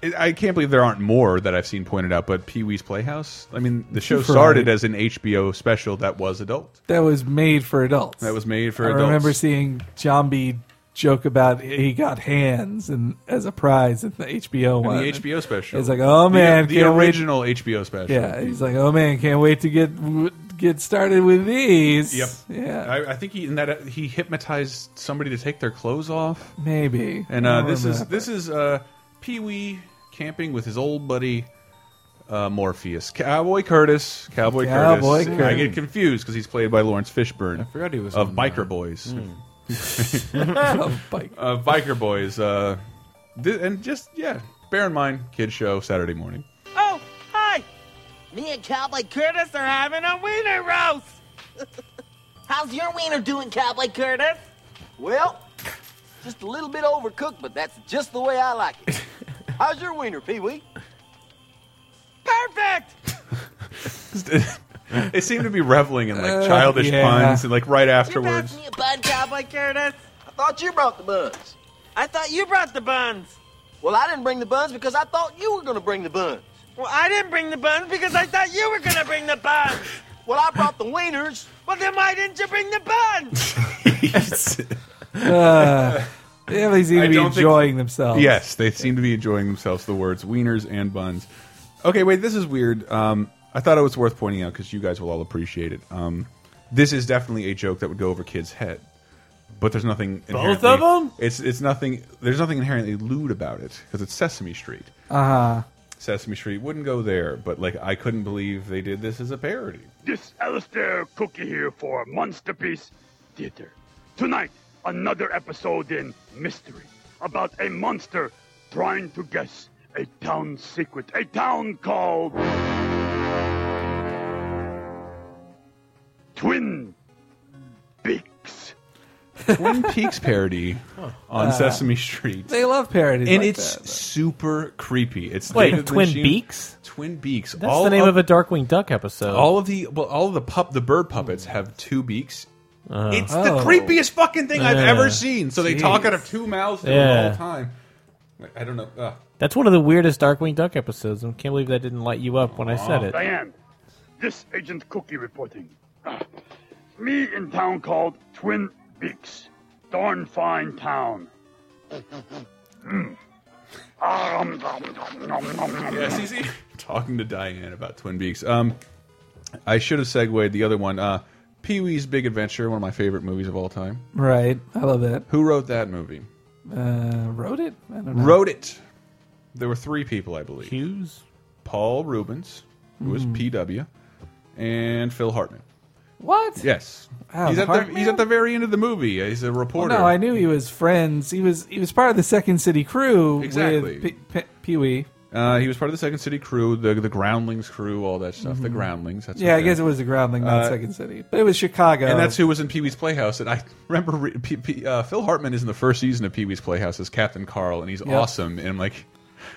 Speaker 1: it, I can't believe there aren't more that I've seen pointed out. But Pee Wee's Playhouse. I mean, the show
Speaker 4: Right.
Speaker 1: started as an HBO special that was adult.
Speaker 4: that was made for adults.
Speaker 1: That was made for
Speaker 4: I
Speaker 1: adults.
Speaker 4: remember seeing Jambi joke about he got hands and as a prize at the HBO
Speaker 1: And
Speaker 4: one.
Speaker 1: the HBO special.
Speaker 4: It's like, oh
Speaker 1: The-
Speaker 4: man,
Speaker 1: the,
Speaker 4: can't wait-
Speaker 1: original HBO special.
Speaker 4: Yeah, he's like, oh man, can't wait to get get started with these.
Speaker 1: Yep.
Speaker 4: Yeah.
Speaker 1: I, I think he in that uh, he hypnotized somebody to take their clothes off.
Speaker 4: Maybe.
Speaker 1: And
Speaker 4: I
Speaker 1: uh,
Speaker 4: don't
Speaker 1: this is
Speaker 4: remember.
Speaker 1: this is uh, Pee Wee camping with his old buddy uh, Morpheus, Cowboy Curtis, Cowboy,
Speaker 4: Cowboy
Speaker 1: Curtis.
Speaker 4: Curtis.
Speaker 1: I get confused because he's played by Lawrence Fishburne. I
Speaker 5: forgot he was uh, hmm.
Speaker 1: of
Speaker 5: on
Speaker 1: Biker
Speaker 5: that.
Speaker 1: Boys.
Speaker 4: Of Biker.
Speaker 1: Uh, Biker Boys. Uh, thi- and just yeah, bear in mind, kid show Saturday morning.
Speaker 2: Oh, hi! Me and Cowboy Curtis are having a wiener roast! How's your wiener doing, Cowboy Curtis?
Speaker 23: Well, just a little bit overcooked, but that's just the way I like it. How's your wiener, Pee Wee?
Speaker 2: Perfect!
Speaker 1: they seem to be reveling in like
Speaker 23: Uh,
Speaker 1: childish
Speaker 23: yeah.
Speaker 1: puns and like right afterwards.
Speaker 2: You bun, Cowboy Curtis?
Speaker 23: I thought you brought the buns.
Speaker 2: I thought you brought the buns.
Speaker 23: Well, I didn't bring the buns because I thought you were going to bring the buns.
Speaker 2: Well, I didn't bring the buns because I thought you were gonna bring the buns!
Speaker 23: Well, I brought the wieners.
Speaker 2: Well, then why didn't you bring the buns?
Speaker 4: Uh, yeah, they seem
Speaker 1: I
Speaker 4: to be
Speaker 1: don't think-
Speaker 4: enjoying themselves.
Speaker 1: Yes, they seem to be enjoying themselves. The words wieners and buns. Okay, wait, this is weird. Um, I thought it was worth pointing out because you guys will all appreciate it. Um, this is definitely a joke that would go over kids' head, but there's nothing.
Speaker 6: Both
Speaker 1: inherently-
Speaker 6: of 'em?
Speaker 1: It's it's nothing. There's nothing inherently lewd about it because it's Sesame Street.
Speaker 6: Uh-huh.
Speaker 4: Uh,
Speaker 1: Sesame Street wouldn't go there, but like I couldn't believe they did this as a parody.
Speaker 24: This Alistair Cookie here for Monsterpiece Theater. Tonight, another episode in Mystery about a monster trying to guess a town secret, a town called Twin Peaks.
Speaker 1: Twin Peaks parody on
Speaker 4: Uh,
Speaker 1: Sesame Street.
Speaker 4: they love parodies,
Speaker 1: and
Speaker 4: like
Speaker 1: it's
Speaker 4: that.
Speaker 1: super creepy. It's
Speaker 6: Wait,
Speaker 1: David
Speaker 6: Twin
Speaker 1: Lynch-
Speaker 6: Beaks?
Speaker 1: Twin Beaks.
Speaker 6: That's the name of a Darkwing Duck episode.
Speaker 1: All of the well, all of the pup, the bird puppets have two beaks. It's the
Speaker 6: Oh.
Speaker 1: creepiest fucking thing I've
Speaker 6: Yeah.
Speaker 1: ever seen. So they talk
Speaker 6: Jeez.
Speaker 1: out of two mouths the
Speaker 6: Yeah.
Speaker 1: whole time. Like, I don't know. Uh, Ugh.
Speaker 6: That's one of the weirdest Darkwing Duck episodes. I can't believe that didn't light you up when I said it.
Speaker 24: Diane, this Agent Cookie reporting. Ah, me in town called Twin Peaks. Thornfine Town. Mm. Ah, um, nom, nom, nom, nom, nom.
Speaker 1: Yes, he's here. Talking to Diane about Twin Peaks. Um, I should have segued the other one. Uh, Pee Wee's Big Adventure, one of my favorite movies of all time.
Speaker 4: Right. I love that.
Speaker 1: Who wrote that movie?
Speaker 4: Uh, wrote it? I don't know.
Speaker 1: Wrote it. There were three people, I believe. Hughes, Paul Rubens, who was
Speaker 4: Mhm.
Speaker 1: PW, and Phil Hartman.
Speaker 4: What?
Speaker 1: Yes,
Speaker 4: Oh,
Speaker 1: he's at
Speaker 4: Hartman?
Speaker 1: the he's at the very end of the movie. Uh, He's a
Speaker 4: Well,
Speaker 1: reporter.
Speaker 4: no, I knew he was friends. He was he was part of the Second City crew
Speaker 1: Exactly.
Speaker 4: with P- P- Pee Wee.
Speaker 1: Uh, he was part of the Second City crew, the the Groundlings crew, all that stuff. The
Speaker 4: Mhm.
Speaker 1: Groundlings. That's
Speaker 4: Yeah,
Speaker 1: what
Speaker 4: I
Speaker 1: they-
Speaker 4: guess it was the Groundling, not
Speaker 1: Uh,
Speaker 4: Second City. But it was Chicago.
Speaker 1: And that's who was in Pee Wee's Playhouse. And I remember re P P uh, Phil Hartman is in the first season of Pee Wee's Playhouse as Captain Carl, and he's
Speaker 4: Yep.
Speaker 1: awesome. And I'm like,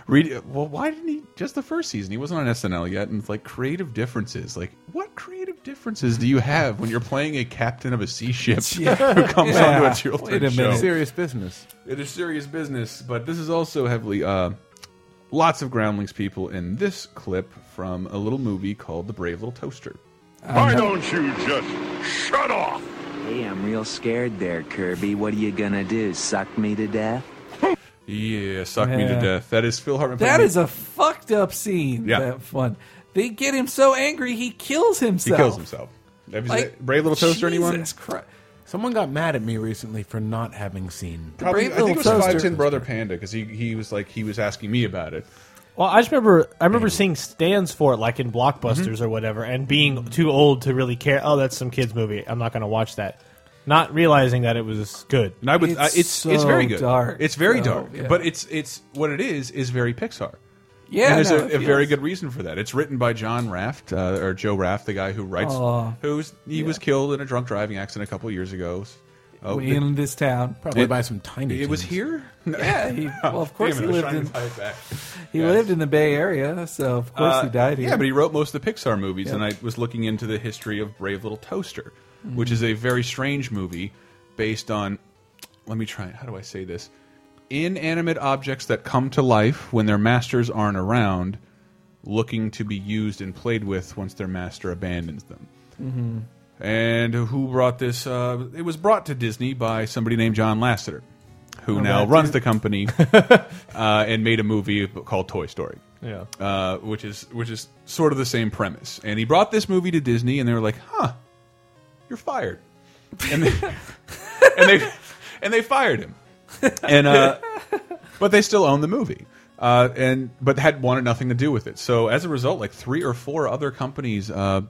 Speaker 1: read well, why didn't he just the first season? He wasn't on SNL yet. And it's like creative differences. Like, what creative differences do you have when you're playing a captain of a sea ship who comes onto a children's show?
Speaker 5: Serious business.
Speaker 1: It is serious business, but this is also heavily uh, lots of Groundlings people in this clip from a little movie called The Brave Little Toaster.
Speaker 10: Why don't you just shut off?
Speaker 12: Hey, I'm real scared there, Kirby. What are you gonna do? Suck me to death?
Speaker 1: Yeah, suck me to
Speaker 12: Yeah.
Speaker 1: death. That is Phil Hartman.
Speaker 4: That
Speaker 1: playing-
Speaker 4: is a fucked up scene.
Speaker 1: Yeah.
Speaker 4: That one. They get him so angry he kills
Speaker 1: he
Speaker 4: himself.
Speaker 1: kills himself. Have you seen Brave Little Toaster? Anyone?
Speaker 5: Someone got mad at me recently for not having seen.
Speaker 1: Probably, I think it was Five Ten Brother Panda because he he was like he was asking me about it.
Speaker 6: Well, I just remember I remember seeing stands for it, like in blockbusters or whatever, and being too old to really care. Oh, that's some kids' movie. I'm not going to watch that. Not realizing that it was good.
Speaker 1: And I would it's it's, it's very good.
Speaker 6: Dark,
Speaker 1: it's very
Speaker 6: though,
Speaker 1: dark,
Speaker 6: yeah.
Speaker 1: but it's it's what it is is very Pixar.
Speaker 4: Yeah,
Speaker 1: and there's
Speaker 4: no,
Speaker 1: a,
Speaker 4: it
Speaker 1: a very
Speaker 4: feels-
Speaker 1: good reason for that. It's written by John Raft uh, or Joe Raft, the guy who writes,
Speaker 4: Aw.
Speaker 1: who's he was killed in a drunk driving accident a couple years ago. Oh,
Speaker 4: in this town,
Speaker 1: It- It was here.
Speaker 4: Yeah, he, well, of course
Speaker 1: Damn
Speaker 4: he
Speaker 1: it, I was
Speaker 4: lived
Speaker 1: trying
Speaker 4: in.
Speaker 1: to tie it back.
Speaker 4: He lived in the Bay Area, so of course he
Speaker 1: Uh,
Speaker 4: died here.
Speaker 1: Yeah, but he wrote most of the Pixar movies,
Speaker 4: Yeah.
Speaker 1: and I was looking into the history of Brave Little Toaster,
Speaker 4: Mhm.
Speaker 1: which is a very strange movie based on. Let me try. How do I say this? Inanimate objects that come to life when their masters aren't around, looking to be used and played with once their master abandons them.
Speaker 4: Mhm.
Speaker 1: And who brought this? Uh, it was brought to Disney by somebody named John Lasseter, who
Speaker 4: Oh,
Speaker 1: now
Speaker 4: that
Speaker 1: runs
Speaker 4: dude.
Speaker 1: the company uh, and made a movie called Toy Story.
Speaker 6: Yeah.
Speaker 1: uh, which is which is sort of the same premise. And he brought this movie to Disney, and they were like, "Huh, you're fired," and they and they, and they fired him. And uh, but they still own the movie. Uh, and but had wanted nothing to do with it. So as a result, like three or four other companies uh,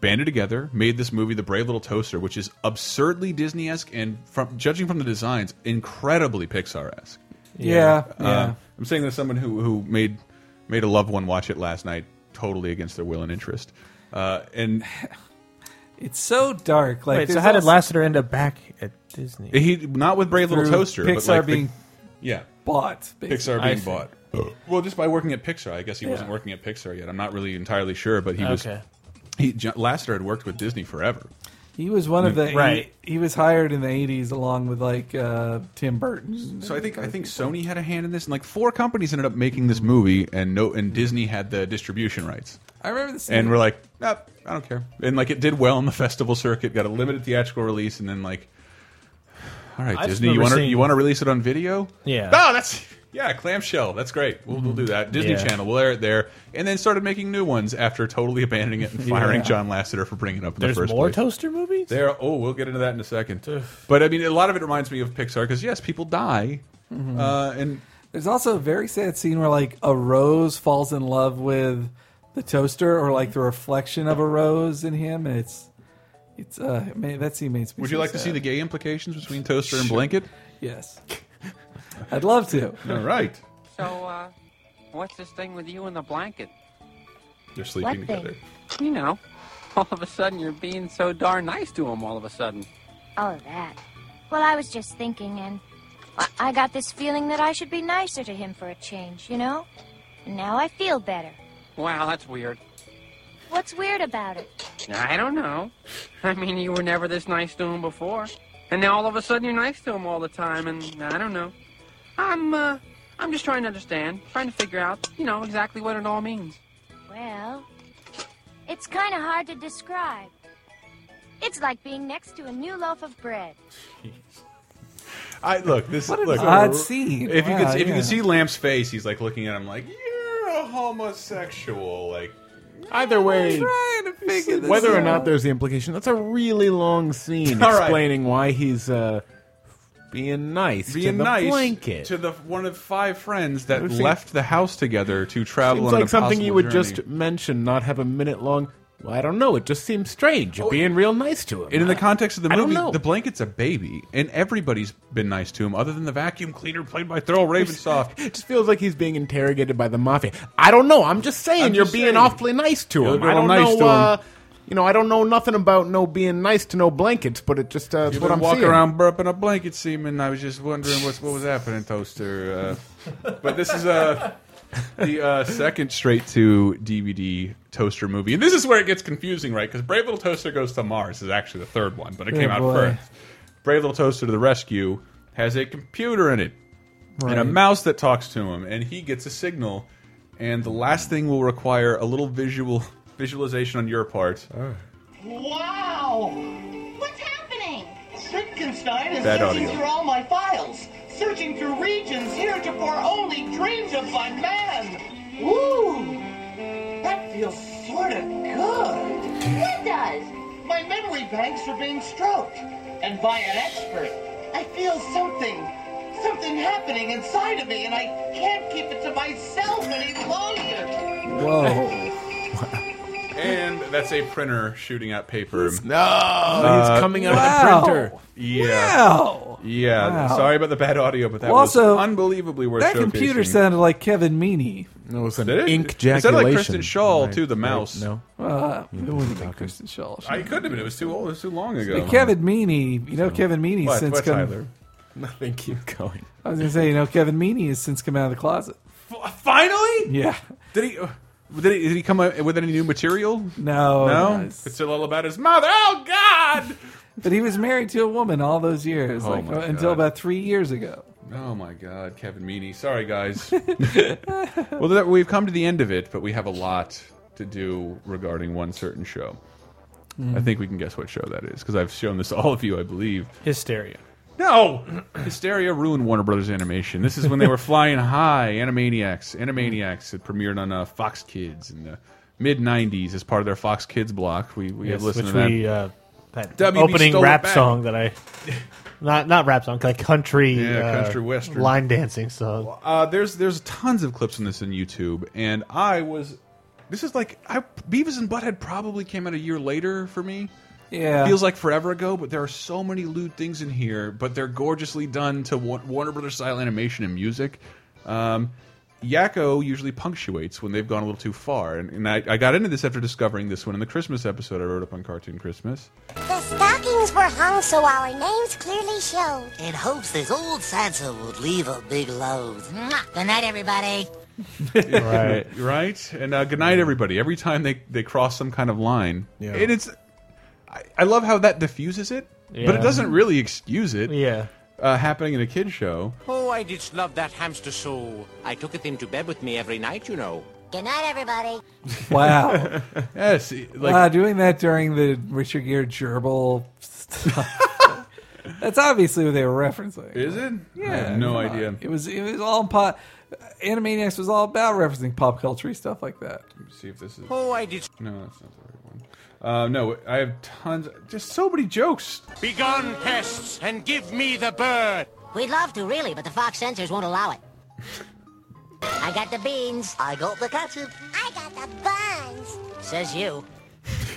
Speaker 1: banded together, made this movie, The Brave Little Toaster, which is absurdly Disney-esque and, from judging from the designs, incredibly Pixar-esque.
Speaker 4: Yeah,
Speaker 1: Uh,
Speaker 4: yeah.
Speaker 1: I'm saying there's someone who who made made a loved one watch it last night, totally against their will and interest, uh, and.
Speaker 4: It's so dark. Like,
Speaker 6: Wait, so
Speaker 4: there's
Speaker 6: how did
Speaker 4: also-
Speaker 6: Lasseter end up back at Disney?
Speaker 1: He not with Brave Little
Speaker 4: Through
Speaker 1: Toaster,
Speaker 4: Pixar
Speaker 1: but like the-
Speaker 4: being
Speaker 1: yeah
Speaker 4: bought, basically.
Speaker 1: Pixar
Speaker 4: I
Speaker 1: being
Speaker 4: see. Oh.
Speaker 1: bought. Well, just by working at Pixar, I guess he wasn't working at Pixar yet. I'm not really entirely sure, but he was.
Speaker 4: Okay.
Speaker 1: He J- Lasseter had worked with Disney forever.
Speaker 4: He was one of the
Speaker 1: Mm, Right.
Speaker 4: He, he was hired in the '80s along with like uh, Tim Burton.
Speaker 1: So I think I think Sony had a hand in this, and like four companies ended up making this movie, and no, and Disney had the distribution rights.
Speaker 4: I remember the scene.
Speaker 1: And we're like, "Nah, I don't care. And like it did well in the festival circuit, got a limited theatrical release, and then like, all right,
Speaker 6: I just
Speaker 1: Disney, you
Speaker 6: remember
Speaker 1: want to
Speaker 6: seeing-
Speaker 1: you want to release it on video?
Speaker 6: Yeah.
Speaker 1: Oh, that's yeah, clamshell. That's great. We'll, we'll do that. Disney
Speaker 6: Yeah.
Speaker 1: Channel. We'll air it there, and then started making new ones after totally abandoning it and firing
Speaker 6: Yeah.
Speaker 1: John Lasseter for bringing it up in
Speaker 6: There's
Speaker 1: the first
Speaker 6: more
Speaker 1: place.
Speaker 6: toaster movies.
Speaker 1: There. Oh, we'll get into that in a second. but I mean, a lot of it reminds me of Pixar because yes, people die.
Speaker 6: Mm-hmm.
Speaker 4: Mhm.
Speaker 1: Uh, and
Speaker 4: There's also a very sad scene where like a rose falls in love with the toaster, or like the reflection of a rose in him, and it's it's uh man, that scene makes me.
Speaker 1: Would you
Speaker 4: so
Speaker 1: like to see
Speaker 4: sad.
Speaker 1: the gay implications between toaster and
Speaker 4: Sure.
Speaker 1: blanket?
Speaker 4: Yes, I'd love to.
Speaker 1: All right,
Speaker 19: So, uh, what's this thing with you and the blanket?
Speaker 1: they're sleeping
Speaker 19: What thing?
Speaker 1: together.
Speaker 19: You know, all of a sudden you're being so darn nice to him all of a sudden.
Speaker 8: Oh, that. Well, I was just thinking, and I- I got this feeling that I should be nicer to him for a change, you know? And now I feel better.
Speaker 19: Wow, that's weird.
Speaker 8: What's weird about it?
Speaker 19: I don't know. I mean, you were never this nice to him before, and now all of a sudden you're nice to him all the time, and I don't know. I'm, uh, I'm just trying to understand, trying to figure out, you know, exactly what it all means.
Speaker 8: Well, it's kind of hard to describe. It's like being next to a new loaf of bread.
Speaker 1: I look this
Speaker 4: What an
Speaker 1: look
Speaker 4: odd scene.
Speaker 1: If you
Speaker 4: Wow,
Speaker 1: could, if you
Speaker 4: yeah.
Speaker 1: could see Lamp's face, he's like looking at him like you're a homosexual. Like
Speaker 6: Either way,
Speaker 4: figure this
Speaker 6: whether or
Speaker 4: out.
Speaker 6: not there's the implication, that's a really long scene
Speaker 1: All right.
Speaker 6: explaining why he's uh, being nice
Speaker 1: being
Speaker 6: to the
Speaker 1: nice
Speaker 6: blanket.
Speaker 1: to the one of five friends that
Speaker 6: It seems-
Speaker 1: left the house together to travel.
Speaker 6: Seems
Speaker 1: on
Speaker 6: like
Speaker 1: an
Speaker 6: something you would
Speaker 1: impossible journey.
Speaker 6: just mention, not have a minute long. Well, I don't know. It just seems strange.
Speaker 1: Oh,
Speaker 6: You're being real nice to him.
Speaker 1: And in the context of the
Speaker 6: I don't
Speaker 1: movie,
Speaker 6: know.
Speaker 1: the blanket's a baby, and everybody's been nice to him, other than the vacuum cleaner played by Thurl Ravensoft.
Speaker 6: It just feels like he's being interrogated by the mafia. I don't know. I'm just saying
Speaker 1: I'm
Speaker 6: you're
Speaker 1: just
Speaker 6: being
Speaker 1: saying.
Speaker 6: awfully nice to
Speaker 1: You're
Speaker 6: him.
Speaker 1: real
Speaker 6: I don't
Speaker 1: nice
Speaker 6: know.
Speaker 1: to him.
Speaker 6: uh, You know, I don't know nothing about no being nice to no blankets, but it just uh, that's
Speaker 1: You've
Speaker 6: what
Speaker 1: been
Speaker 6: I'm
Speaker 1: walking
Speaker 6: seeing.
Speaker 1: around burping a blanket semen. I was just wondering what's, what was happening, Toaster. Uh, but this is uh, the uh, second straight to DVD Toaster movie, and this is where it gets confusing, right? Because Brave Little Toaster Goes to Mars is actually the third one, but it
Speaker 4: Oh,
Speaker 1: came out
Speaker 4: boy.
Speaker 1: first. Brave Little Toaster to the Rescue has a computer in it and a
Speaker 4: Right.
Speaker 1: mouse that talks to him, and he gets a signal. And the last thing will require a little visual visualization on your part.
Speaker 6: Oh.
Speaker 20: Wow! What's happening? Sitkenstein is
Speaker 1: Bad
Speaker 20: searching
Speaker 1: audio.
Speaker 20: through all my files, searching through regions heretofore only dreamed of by man. Woo! That feels sort of good. It does. My memory banks are being stroked, and by an expert. I feel something, something happening inside of me, and I can't keep it to myself any longer.
Speaker 6: Whoa.
Speaker 1: And that's a printer shooting at paper.
Speaker 6: No, he's coming out
Speaker 4: wow.
Speaker 6: of the printer.
Speaker 1: Yeah.
Speaker 4: Wow.
Speaker 1: Yeah.
Speaker 4: Wow.
Speaker 1: Sorry about the bad audio, but that
Speaker 4: Well,
Speaker 1: was
Speaker 4: also,
Speaker 1: unbelievably worth
Speaker 4: That computer
Speaker 1: showcasing.
Speaker 4: sounded like Kevin Meaney.
Speaker 6: No, it's an
Speaker 1: Did it?
Speaker 6: ink
Speaker 1: It sounded like Kristen
Speaker 6: ejaculation.
Speaker 1: Shaw
Speaker 6: Right,
Speaker 1: too. The
Speaker 6: right,
Speaker 1: mouse.
Speaker 6: no.
Speaker 4: Uh,
Speaker 6: You
Speaker 4: it
Speaker 6: can
Speaker 4: wouldn't have
Speaker 6: talk
Speaker 4: been
Speaker 6: it.
Speaker 4: Kristen Shaw.
Speaker 1: I couldn't have been. It was too old. It was too long ago.
Speaker 4: But Kevin Meaney, you know Kevin Meaney
Speaker 1: What?
Speaker 4: since
Speaker 1: What,
Speaker 4: come-
Speaker 1: Tyler?
Speaker 6: Nothing. Keep going.
Speaker 4: I was gonna say, you know, Kevin Meaney has since come out of the closet.
Speaker 1: Finally.
Speaker 4: Yeah.
Speaker 1: Did he? uh, Did he, did he come out with any new material?
Speaker 4: No,
Speaker 1: no.
Speaker 4: no, it's-
Speaker 1: It's all about his mother. Oh God!
Speaker 4: But he was married to a woman all those years,
Speaker 1: Oh
Speaker 4: like uh,
Speaker 1: my
Speaker 4: until
Speaker 1: God.
Speaker 4: about three years ago.
Speaker 1: Oh my God, Kevin Meaney. Sorry, guys. well, that, we've come to the end of it, but we have a lot to do regarding one certain show.
Speaker 25: Mm.
Speaker 1: I think we can guess what show that is because I've shown this to all of you, I believe.
Speaker 25: Hysteria.
Speaker 1: No, Hysteria ruined Warner Brothers Animation. This is when they were flying high. Animaniacs, Animaniacs, it premiered on uh, Fox Kids in the mid '90s as part of their Fox Kids block. We we
Speaker 25: Yes,
Speaker 1: have listened
Speaker 25: which
Speaker 1: to that.
Speaker 25: we uh, that
Speaker 1: WB
Speaker 25: opening
Speaker 1: stole it
Speaker 25: rap
Speaker 1: back.
Speaker 25: song that I not not rap song like country
Speaker 1: Yeah,
Speaker 25: uh,
Speaker 1: country western.
Speaker 25: line dancing song.
Speaker 1: Uh, there's there's tons of clips on this on YouTube, and I was. This is like I, Beavis and Butthead probably came out a year later for me.
Speaker 4: Yeah.
Speaker 1: feels like forever ago, but there are so many lewd things in here, but they're gorgeously done to Wa- Warner Brothers style animation and music. Um, Yakko usually punctuates when they've gone a little too far, and, and I, I got into this after discovering this one in the Christmas episode I wrote up on Cartoon Christmas.
Speaker 19: The stockings were hung so our names clearly showed.
Speaker 26: In hopes this old Sansa would leave a big load. Mwah. Good night, everybody.
Speaker 1: right right and uh, good night everybody every time they they cross some kind of line
Speaker 25: Yeah.
Speaker 1: and it's I, I love how that diffuses it but
Speaker 25: Yeah.
Speaker 1: it doesn't really excuse it
Speaker 25: Yeah.
Speaker 1: uh, happening in a kid show
Speaker 8: Oh, I didst love that hamster so. I took it into bed with me every night, you know.
Speaker 19: Good night, everybody.
Speaker 4: Wow.
Speaker 1: yes like
Speaker 25: Uh,
Speaker 4: wow, doing that during the Richard Gere gerbil stuff. That's obviously what they were referencing.
Speaker 1: Is it?
Speaker 4: Yeah.
Speaker 1: I have no
Speaker 4: come on.
Speaker 1: idea.
Speaker 4: It was it was all pop Animaniacs was all about referencing pop culture stuff like that.
Speaker 1: let me see if this is
Speaker 8: Oh, I did.
Speaker 1: no that's not the right one uh, no i have tons just so many jokes
Speaker 8: Begone, pests, and give me the bird.
Speaker 19: We'd love to, really, but the Fox censors won't allow it. I got the beans. I got the ketchup. I got the buns. Says you.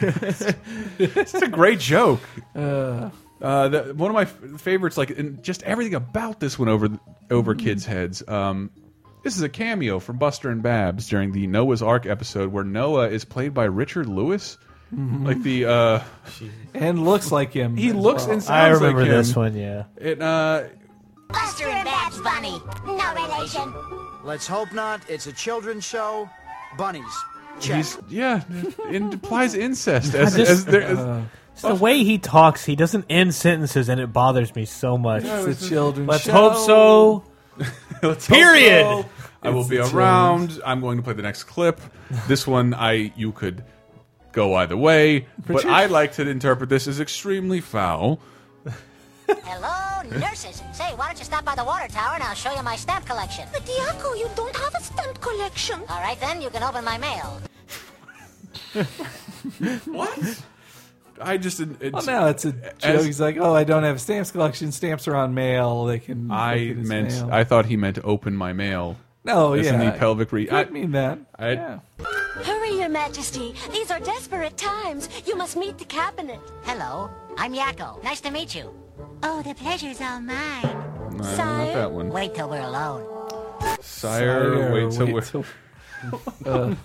Speaker 1: it's a great joke uh, the, one of my f- favorites like and just everything about this went over over kids heads um this is a cameo from Buster and Babs during the Noah's Ark episode where Noah is played by Richard Lewis.
Speaker 4: Mhm.
Speaker 1: Like the uh
Speaker 4: and looks like him.
Speaker 1: He looks
Speaker 4: well.
Speaker 1: and sounds
Speaker 25: I remember
Speaker 1: like him.
Speaker 25: this one. Yeah.
Speaker 1: It uh
Speaker 19: Buster and Babs Bunny. No relation.
Speaker 27: Let's hope not. It's a children's show. Bunnies. Check.
Speaker 1: he's yeah, it implies incest
Speaker 25: I
Speaker 1: as,
Speaker 25: just-
Speaker 1: as there is
Speaker 25: Uh, it's the way he talks, he doesn't end sentences, and it bothers me so much.
Speaker 4: It's a children's
Speaker 25: Let's
Speaker 4: show.
Speaker 25: hope so.
Speaker 1: Let's hope
Speaker 25: Period.
Speaker 1: so. I will
Speaker 4: It's
Speaker 1: be
Speaker 4: the
Speaker 1: around. I'm going to play the next clip. This one, I you could go either way, but
Speaker 4: Richard-
Speaker 1: I like to interpret this as extremely foul.
Speaker 11: Hello, nurses. Say, why don't you stop by the water tower and I'll show you my stamp collection. But Diaco, you don't have a stamp collection. All right, then you can open my mail.
Speaker 1: what? I just.
Speaker 4: Well, now Oh, it's a joke.
Speaker 1: as-
Speaker 4: He's like, "Oh, I don't have a stamps collection. Stamps are on mail. They can." they
Speaker 1: I
Speaker 4: can just
Speaker 1: meant.
Speaker 4: mail."
Speaker 1: I thought he meant open my mail.
Speaker 4: No,
Speaker 1: As in
Speaker 4: Oh, yeah.
Speaker 1: the pelvic re.
Speaker 4: Could mean that.
Speaker 1: I,
Speaker 3: Hurry, Your Majesty. These are desperate times. You must meet the cabinet.
Speaker 11: Hello, I'm Yakko. Nice to meet you.
Speaker 3: Oh, the pleasure's all mine.
Speaker 1: No, not that one.
Speaker 11: Wait till we're alone.
Speaker 1: Sire,
Speaker 11: Sire,
Speaker 1: wait till
Speaker 11: wait
Speaker 1: we're.
Speaker 11: till-
Speaker 1: Uh,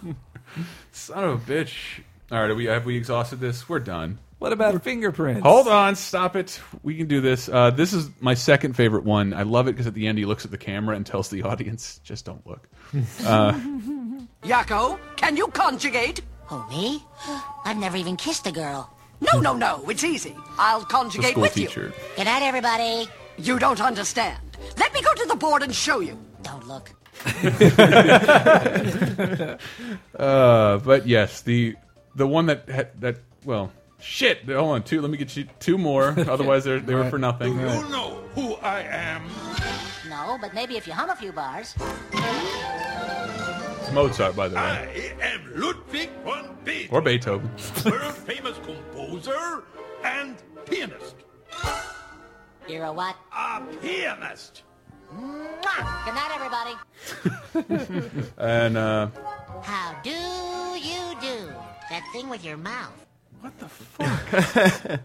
Speaker 1: Son of a bitch. All right, are we, have we exhausted this? We're done.
Speaker 4: What about fingerprints?
Speaker 1: Hold on, stop it. We can do this. Uh, this is my second favorite one. I love it because at the end he looks at the camera and tells the audience, just don't look. Uh,
Speaker 11: Yakko, can you conjugate? Oh, me? I've never even kissed a girl.
Speaker 3: No, no, no. It's easy.
Speaker 11: I'll
Speaker 3: conjugate School with you.
Speaker 1: teacher.
Speaker 11: Good night, everybody.
Speaker 3: You don't understand. Let me go to the board and show you.
Speaker 11: Don't look.
Speaker 1: uh, but yes, the the one that had, that well, shit. Hold on, two. Let me get you two more. Otherwise, they're, they were for nothing.
Speaker 10: You know who I am.
Speaker 11: No, but maybe if you hum a few bars.
Speaker 1: It's Mozart, by the way,
Speaker 10: I am Ludwig von Beethoven,
Speaker 1: or Beethoven.
Speaker 10: world famous composer and pianist.
Speaker 11: You're a what?
Speaker 10: A pianist.
Speaker 11: Mwah! Good night, everybody.
Speaker 1: and uh,
Speaker 11: How do you do? That thing with your mouth.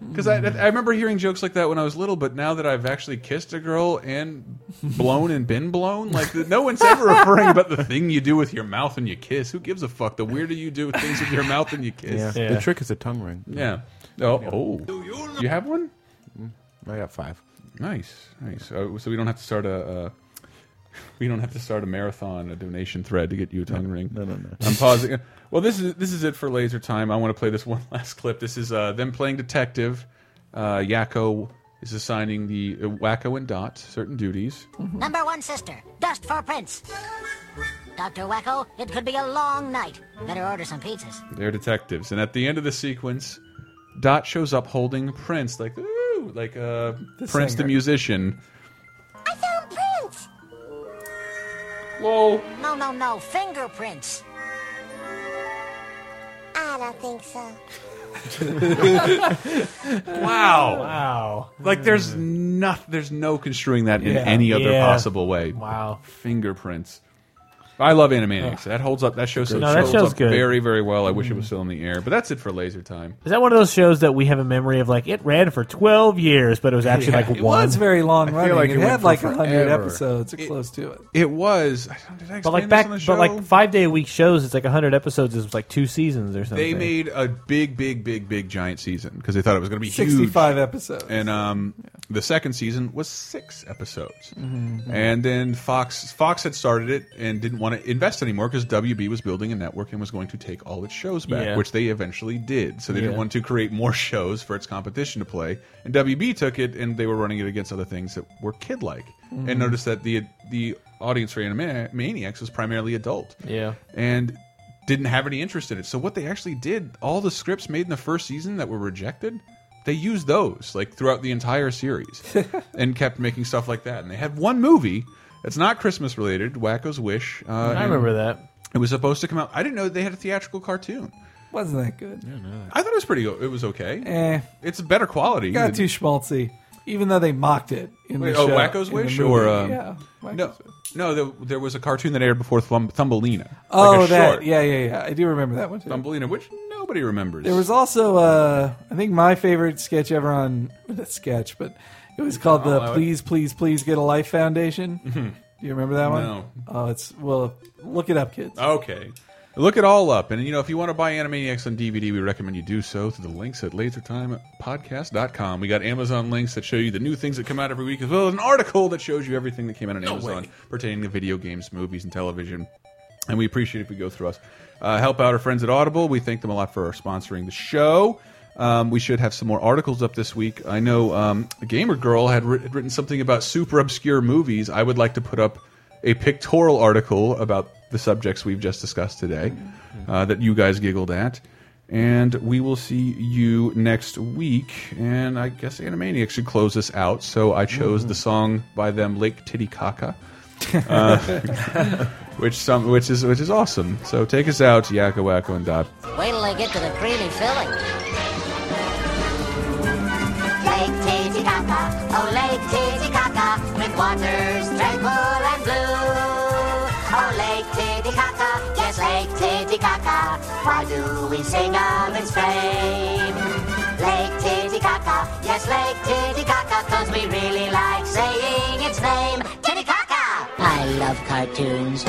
Speaker 1: Because I, I remember hearing jokes like that when I was little, but now that I've actually kissed a girl and blown and been blown, like no one's ever referring about the thing you do with your mouth when you kiss. Who gives a fuck? The weirder you do things with your mouth when you
Speaker 5: Yeah.
Speaker 1: kiss.
Speaker 5: The trick is a tongue ring.
Speaker 1: Yeah. Oh, oh. You have one?
Speaker 5: Mm, I got five.
Speaker 1: Nice, nice. Uh, so we don't have to start a. Uh, we don't have to start a marathon, a donation thread to get you a tongue ring. No, no, no. I'm pausing. Well, this is this is it for laser time. I want to play this one last clip. This is uh, them playing detective. Uh, Yakko is assigning the uh, Wacko and Dot certain duties.
Speaker 11: Number one sister, dust for prints. Dr. Wacko, it could be a long night. Better order some pizzas.
Speaker 1: They're detectives, and at the end of the sequence, Dot shows up holding Prince, like ooh, like uh,
Speaker 11: The
Speaker 1: Prince the
Speaker 11: singer.
Speaker 1: musician.
Speaker 11: I found prints!
Speaker 1: Whoa.
Speaker 11: No, no, no, fingerprints.
Speaker 20: I don't think so.
Speaker 1: Wow.
Speaker 6: Wow.
Speaker 1: Like there's not there's no construing that in
Speaker 6: Yeah.
Speaker 1: any other
Speaker 6: Yeah.
Speaker 1: possible way. Wow. Fingerprints. I love Animaniacs. That holds up. That show so
Speaker 6: No, that
Speaker 1: holds
Speaker 6: show's
Speaker 1: up
Speaker 6: good. Mm.
Speaker 1: very very well. I wish it was still in the air, but that's it for Laser Time.
Speaker 6: Is that one of those shows that we have a memory of? Like it ran for twelve years, but it was actually
Speaker 1: Yeah,
Speaker 6: like
Speaker 1: it
Speaker 6: one.
Speaker 1: was very long I feel running. like It it went had, for like, 100 forever.
Speaker 4: episodes or close to it.
Speaker 1: It was. I don't- Did I
Speaker 6: But
Speaker 1: explain
Speaker 6: like
Speaker 1: this
Speaker 6: back,
Speaker 1: on the show?
Speaker 6: but like five day a week shows, it's like hundred episodes is like two seasons or something.
Speaker 1: they made a big big big big giant season because they thought it was going to be huge.
Speaker 4: 65 episodes.
Speaker 1: And um, the second season was six episodes.
Speaker 4: Mhm.
Speaker 1: And then Fox Fox had started it and didn't want to invest anymore because WB was building a network and was going to take all its shows back,
Speaker 6: Yeah.
Speaker 1: which they eventually did. So they didn't
Speaker 6: Yeah.
Speaker 1: want to create more shows for its competition to play. And WB took it and they were running it against other things that were kid like.
Speaker 6: Mhm.
Speaker 1: And noticed that the the audience for Animaniacs was primarily adult
Speaker 6: yeah.
Speaker 1: and didn't have any interest in it. So what they actually did, all the scripts made in the first season that were rejected, they used those like throughout the entire series and kept making stuff like that. And they had one movie that's not Christmas related, Wacko's Wish. Uh,
Speaker 6: I
Speaker 1: and
Speaker 6: remember that.
Speaker 1: It was supposed to come out. I didn't know they had a theatrical cartoon.
Speaker 4: Wasn't that good? Yeah,
Speaker 1: no. I thought it was pretty. go- It was okay.
Speaker 4: Eh.
Speaker 1: It's better quality.
Speaker 4: Got
Speaker 1: than-
Speaker 4: too schmaltzy, even though they mocked it in
Speaker 1: Wait,
Speaker 4: the
Speaker 1: oh,
Speaker 4: show.
Speaker 1: Wacko's
Speaker 4: in the
Speaker 1: Wish
Speaker 4: movie.
Speaker 1: or um,
Speaker 4: yeah.
Speaker 1: no, no. There, there was a cartoon that aired before Thumb- Thumbelina. like a
Speaker 4: Oh, that.
Speaker 1: short.
Speaker 4: Yeah, yeah, yeah. I do remember that one too.
Speaker 1: Thumbelina, which nobody remembers.
Speaker 4: There was also, uh, I think, my favorite sketch ever on that sketch, but it was called
Speaker 1: I'll
Speaker 4: the
Speaker 1: allow it.
Speaker 4: "Please, Please, Please Get a Life" Foundation.
Speaker 1: Mhm.
Speaker 4: Do you remember that one?
Speaker 1: No.
Speaker 4: Oh, it's well, look it up, kids.
Speaker 1: Okay. Look it all up. And, you know, if you want to buy Animaniacs on DVD, we recommend you do so through the links at lasertimepodcast.com. We got Amazon links that show you the new things that come out every week, as well as an article that shows you everything that came out on
Speaker 10: No
Speaker 1: Amazon
Speaker 10: way.
Speaker 1: pertaining to video games, movies, and television. And we appreciate it if you go through us. Uh, help out our friends at Audible. We thank them a lot for sponsoring the show. Um, we should have some more articles up this week. I know um, Gamer Girl had writ written something about super obscure movies. I would like to put up a pictorial article about the subjects we've just discussed today uh, that you guys giggled at. And we will see you next week. And I guess Animaniac should close us out. So I chose the song by them, Lake Titicaca, uh, which some which is which is awesome. So take us out, Yakko Wacko and Dot.
Speaker 28: Wait till I get to the creamy filling.
Speaker 20: Lake Titicaca, oh Lake Titicaca, with waters tranquil and blue. Oh Lake Titicaca, yes Lake Titicaca, why do we sing of its fame? Lake Titicaca, yes Lake Titicaca, cause we really like saying its name. Titicaca!
Speaker 28: I love cartoons.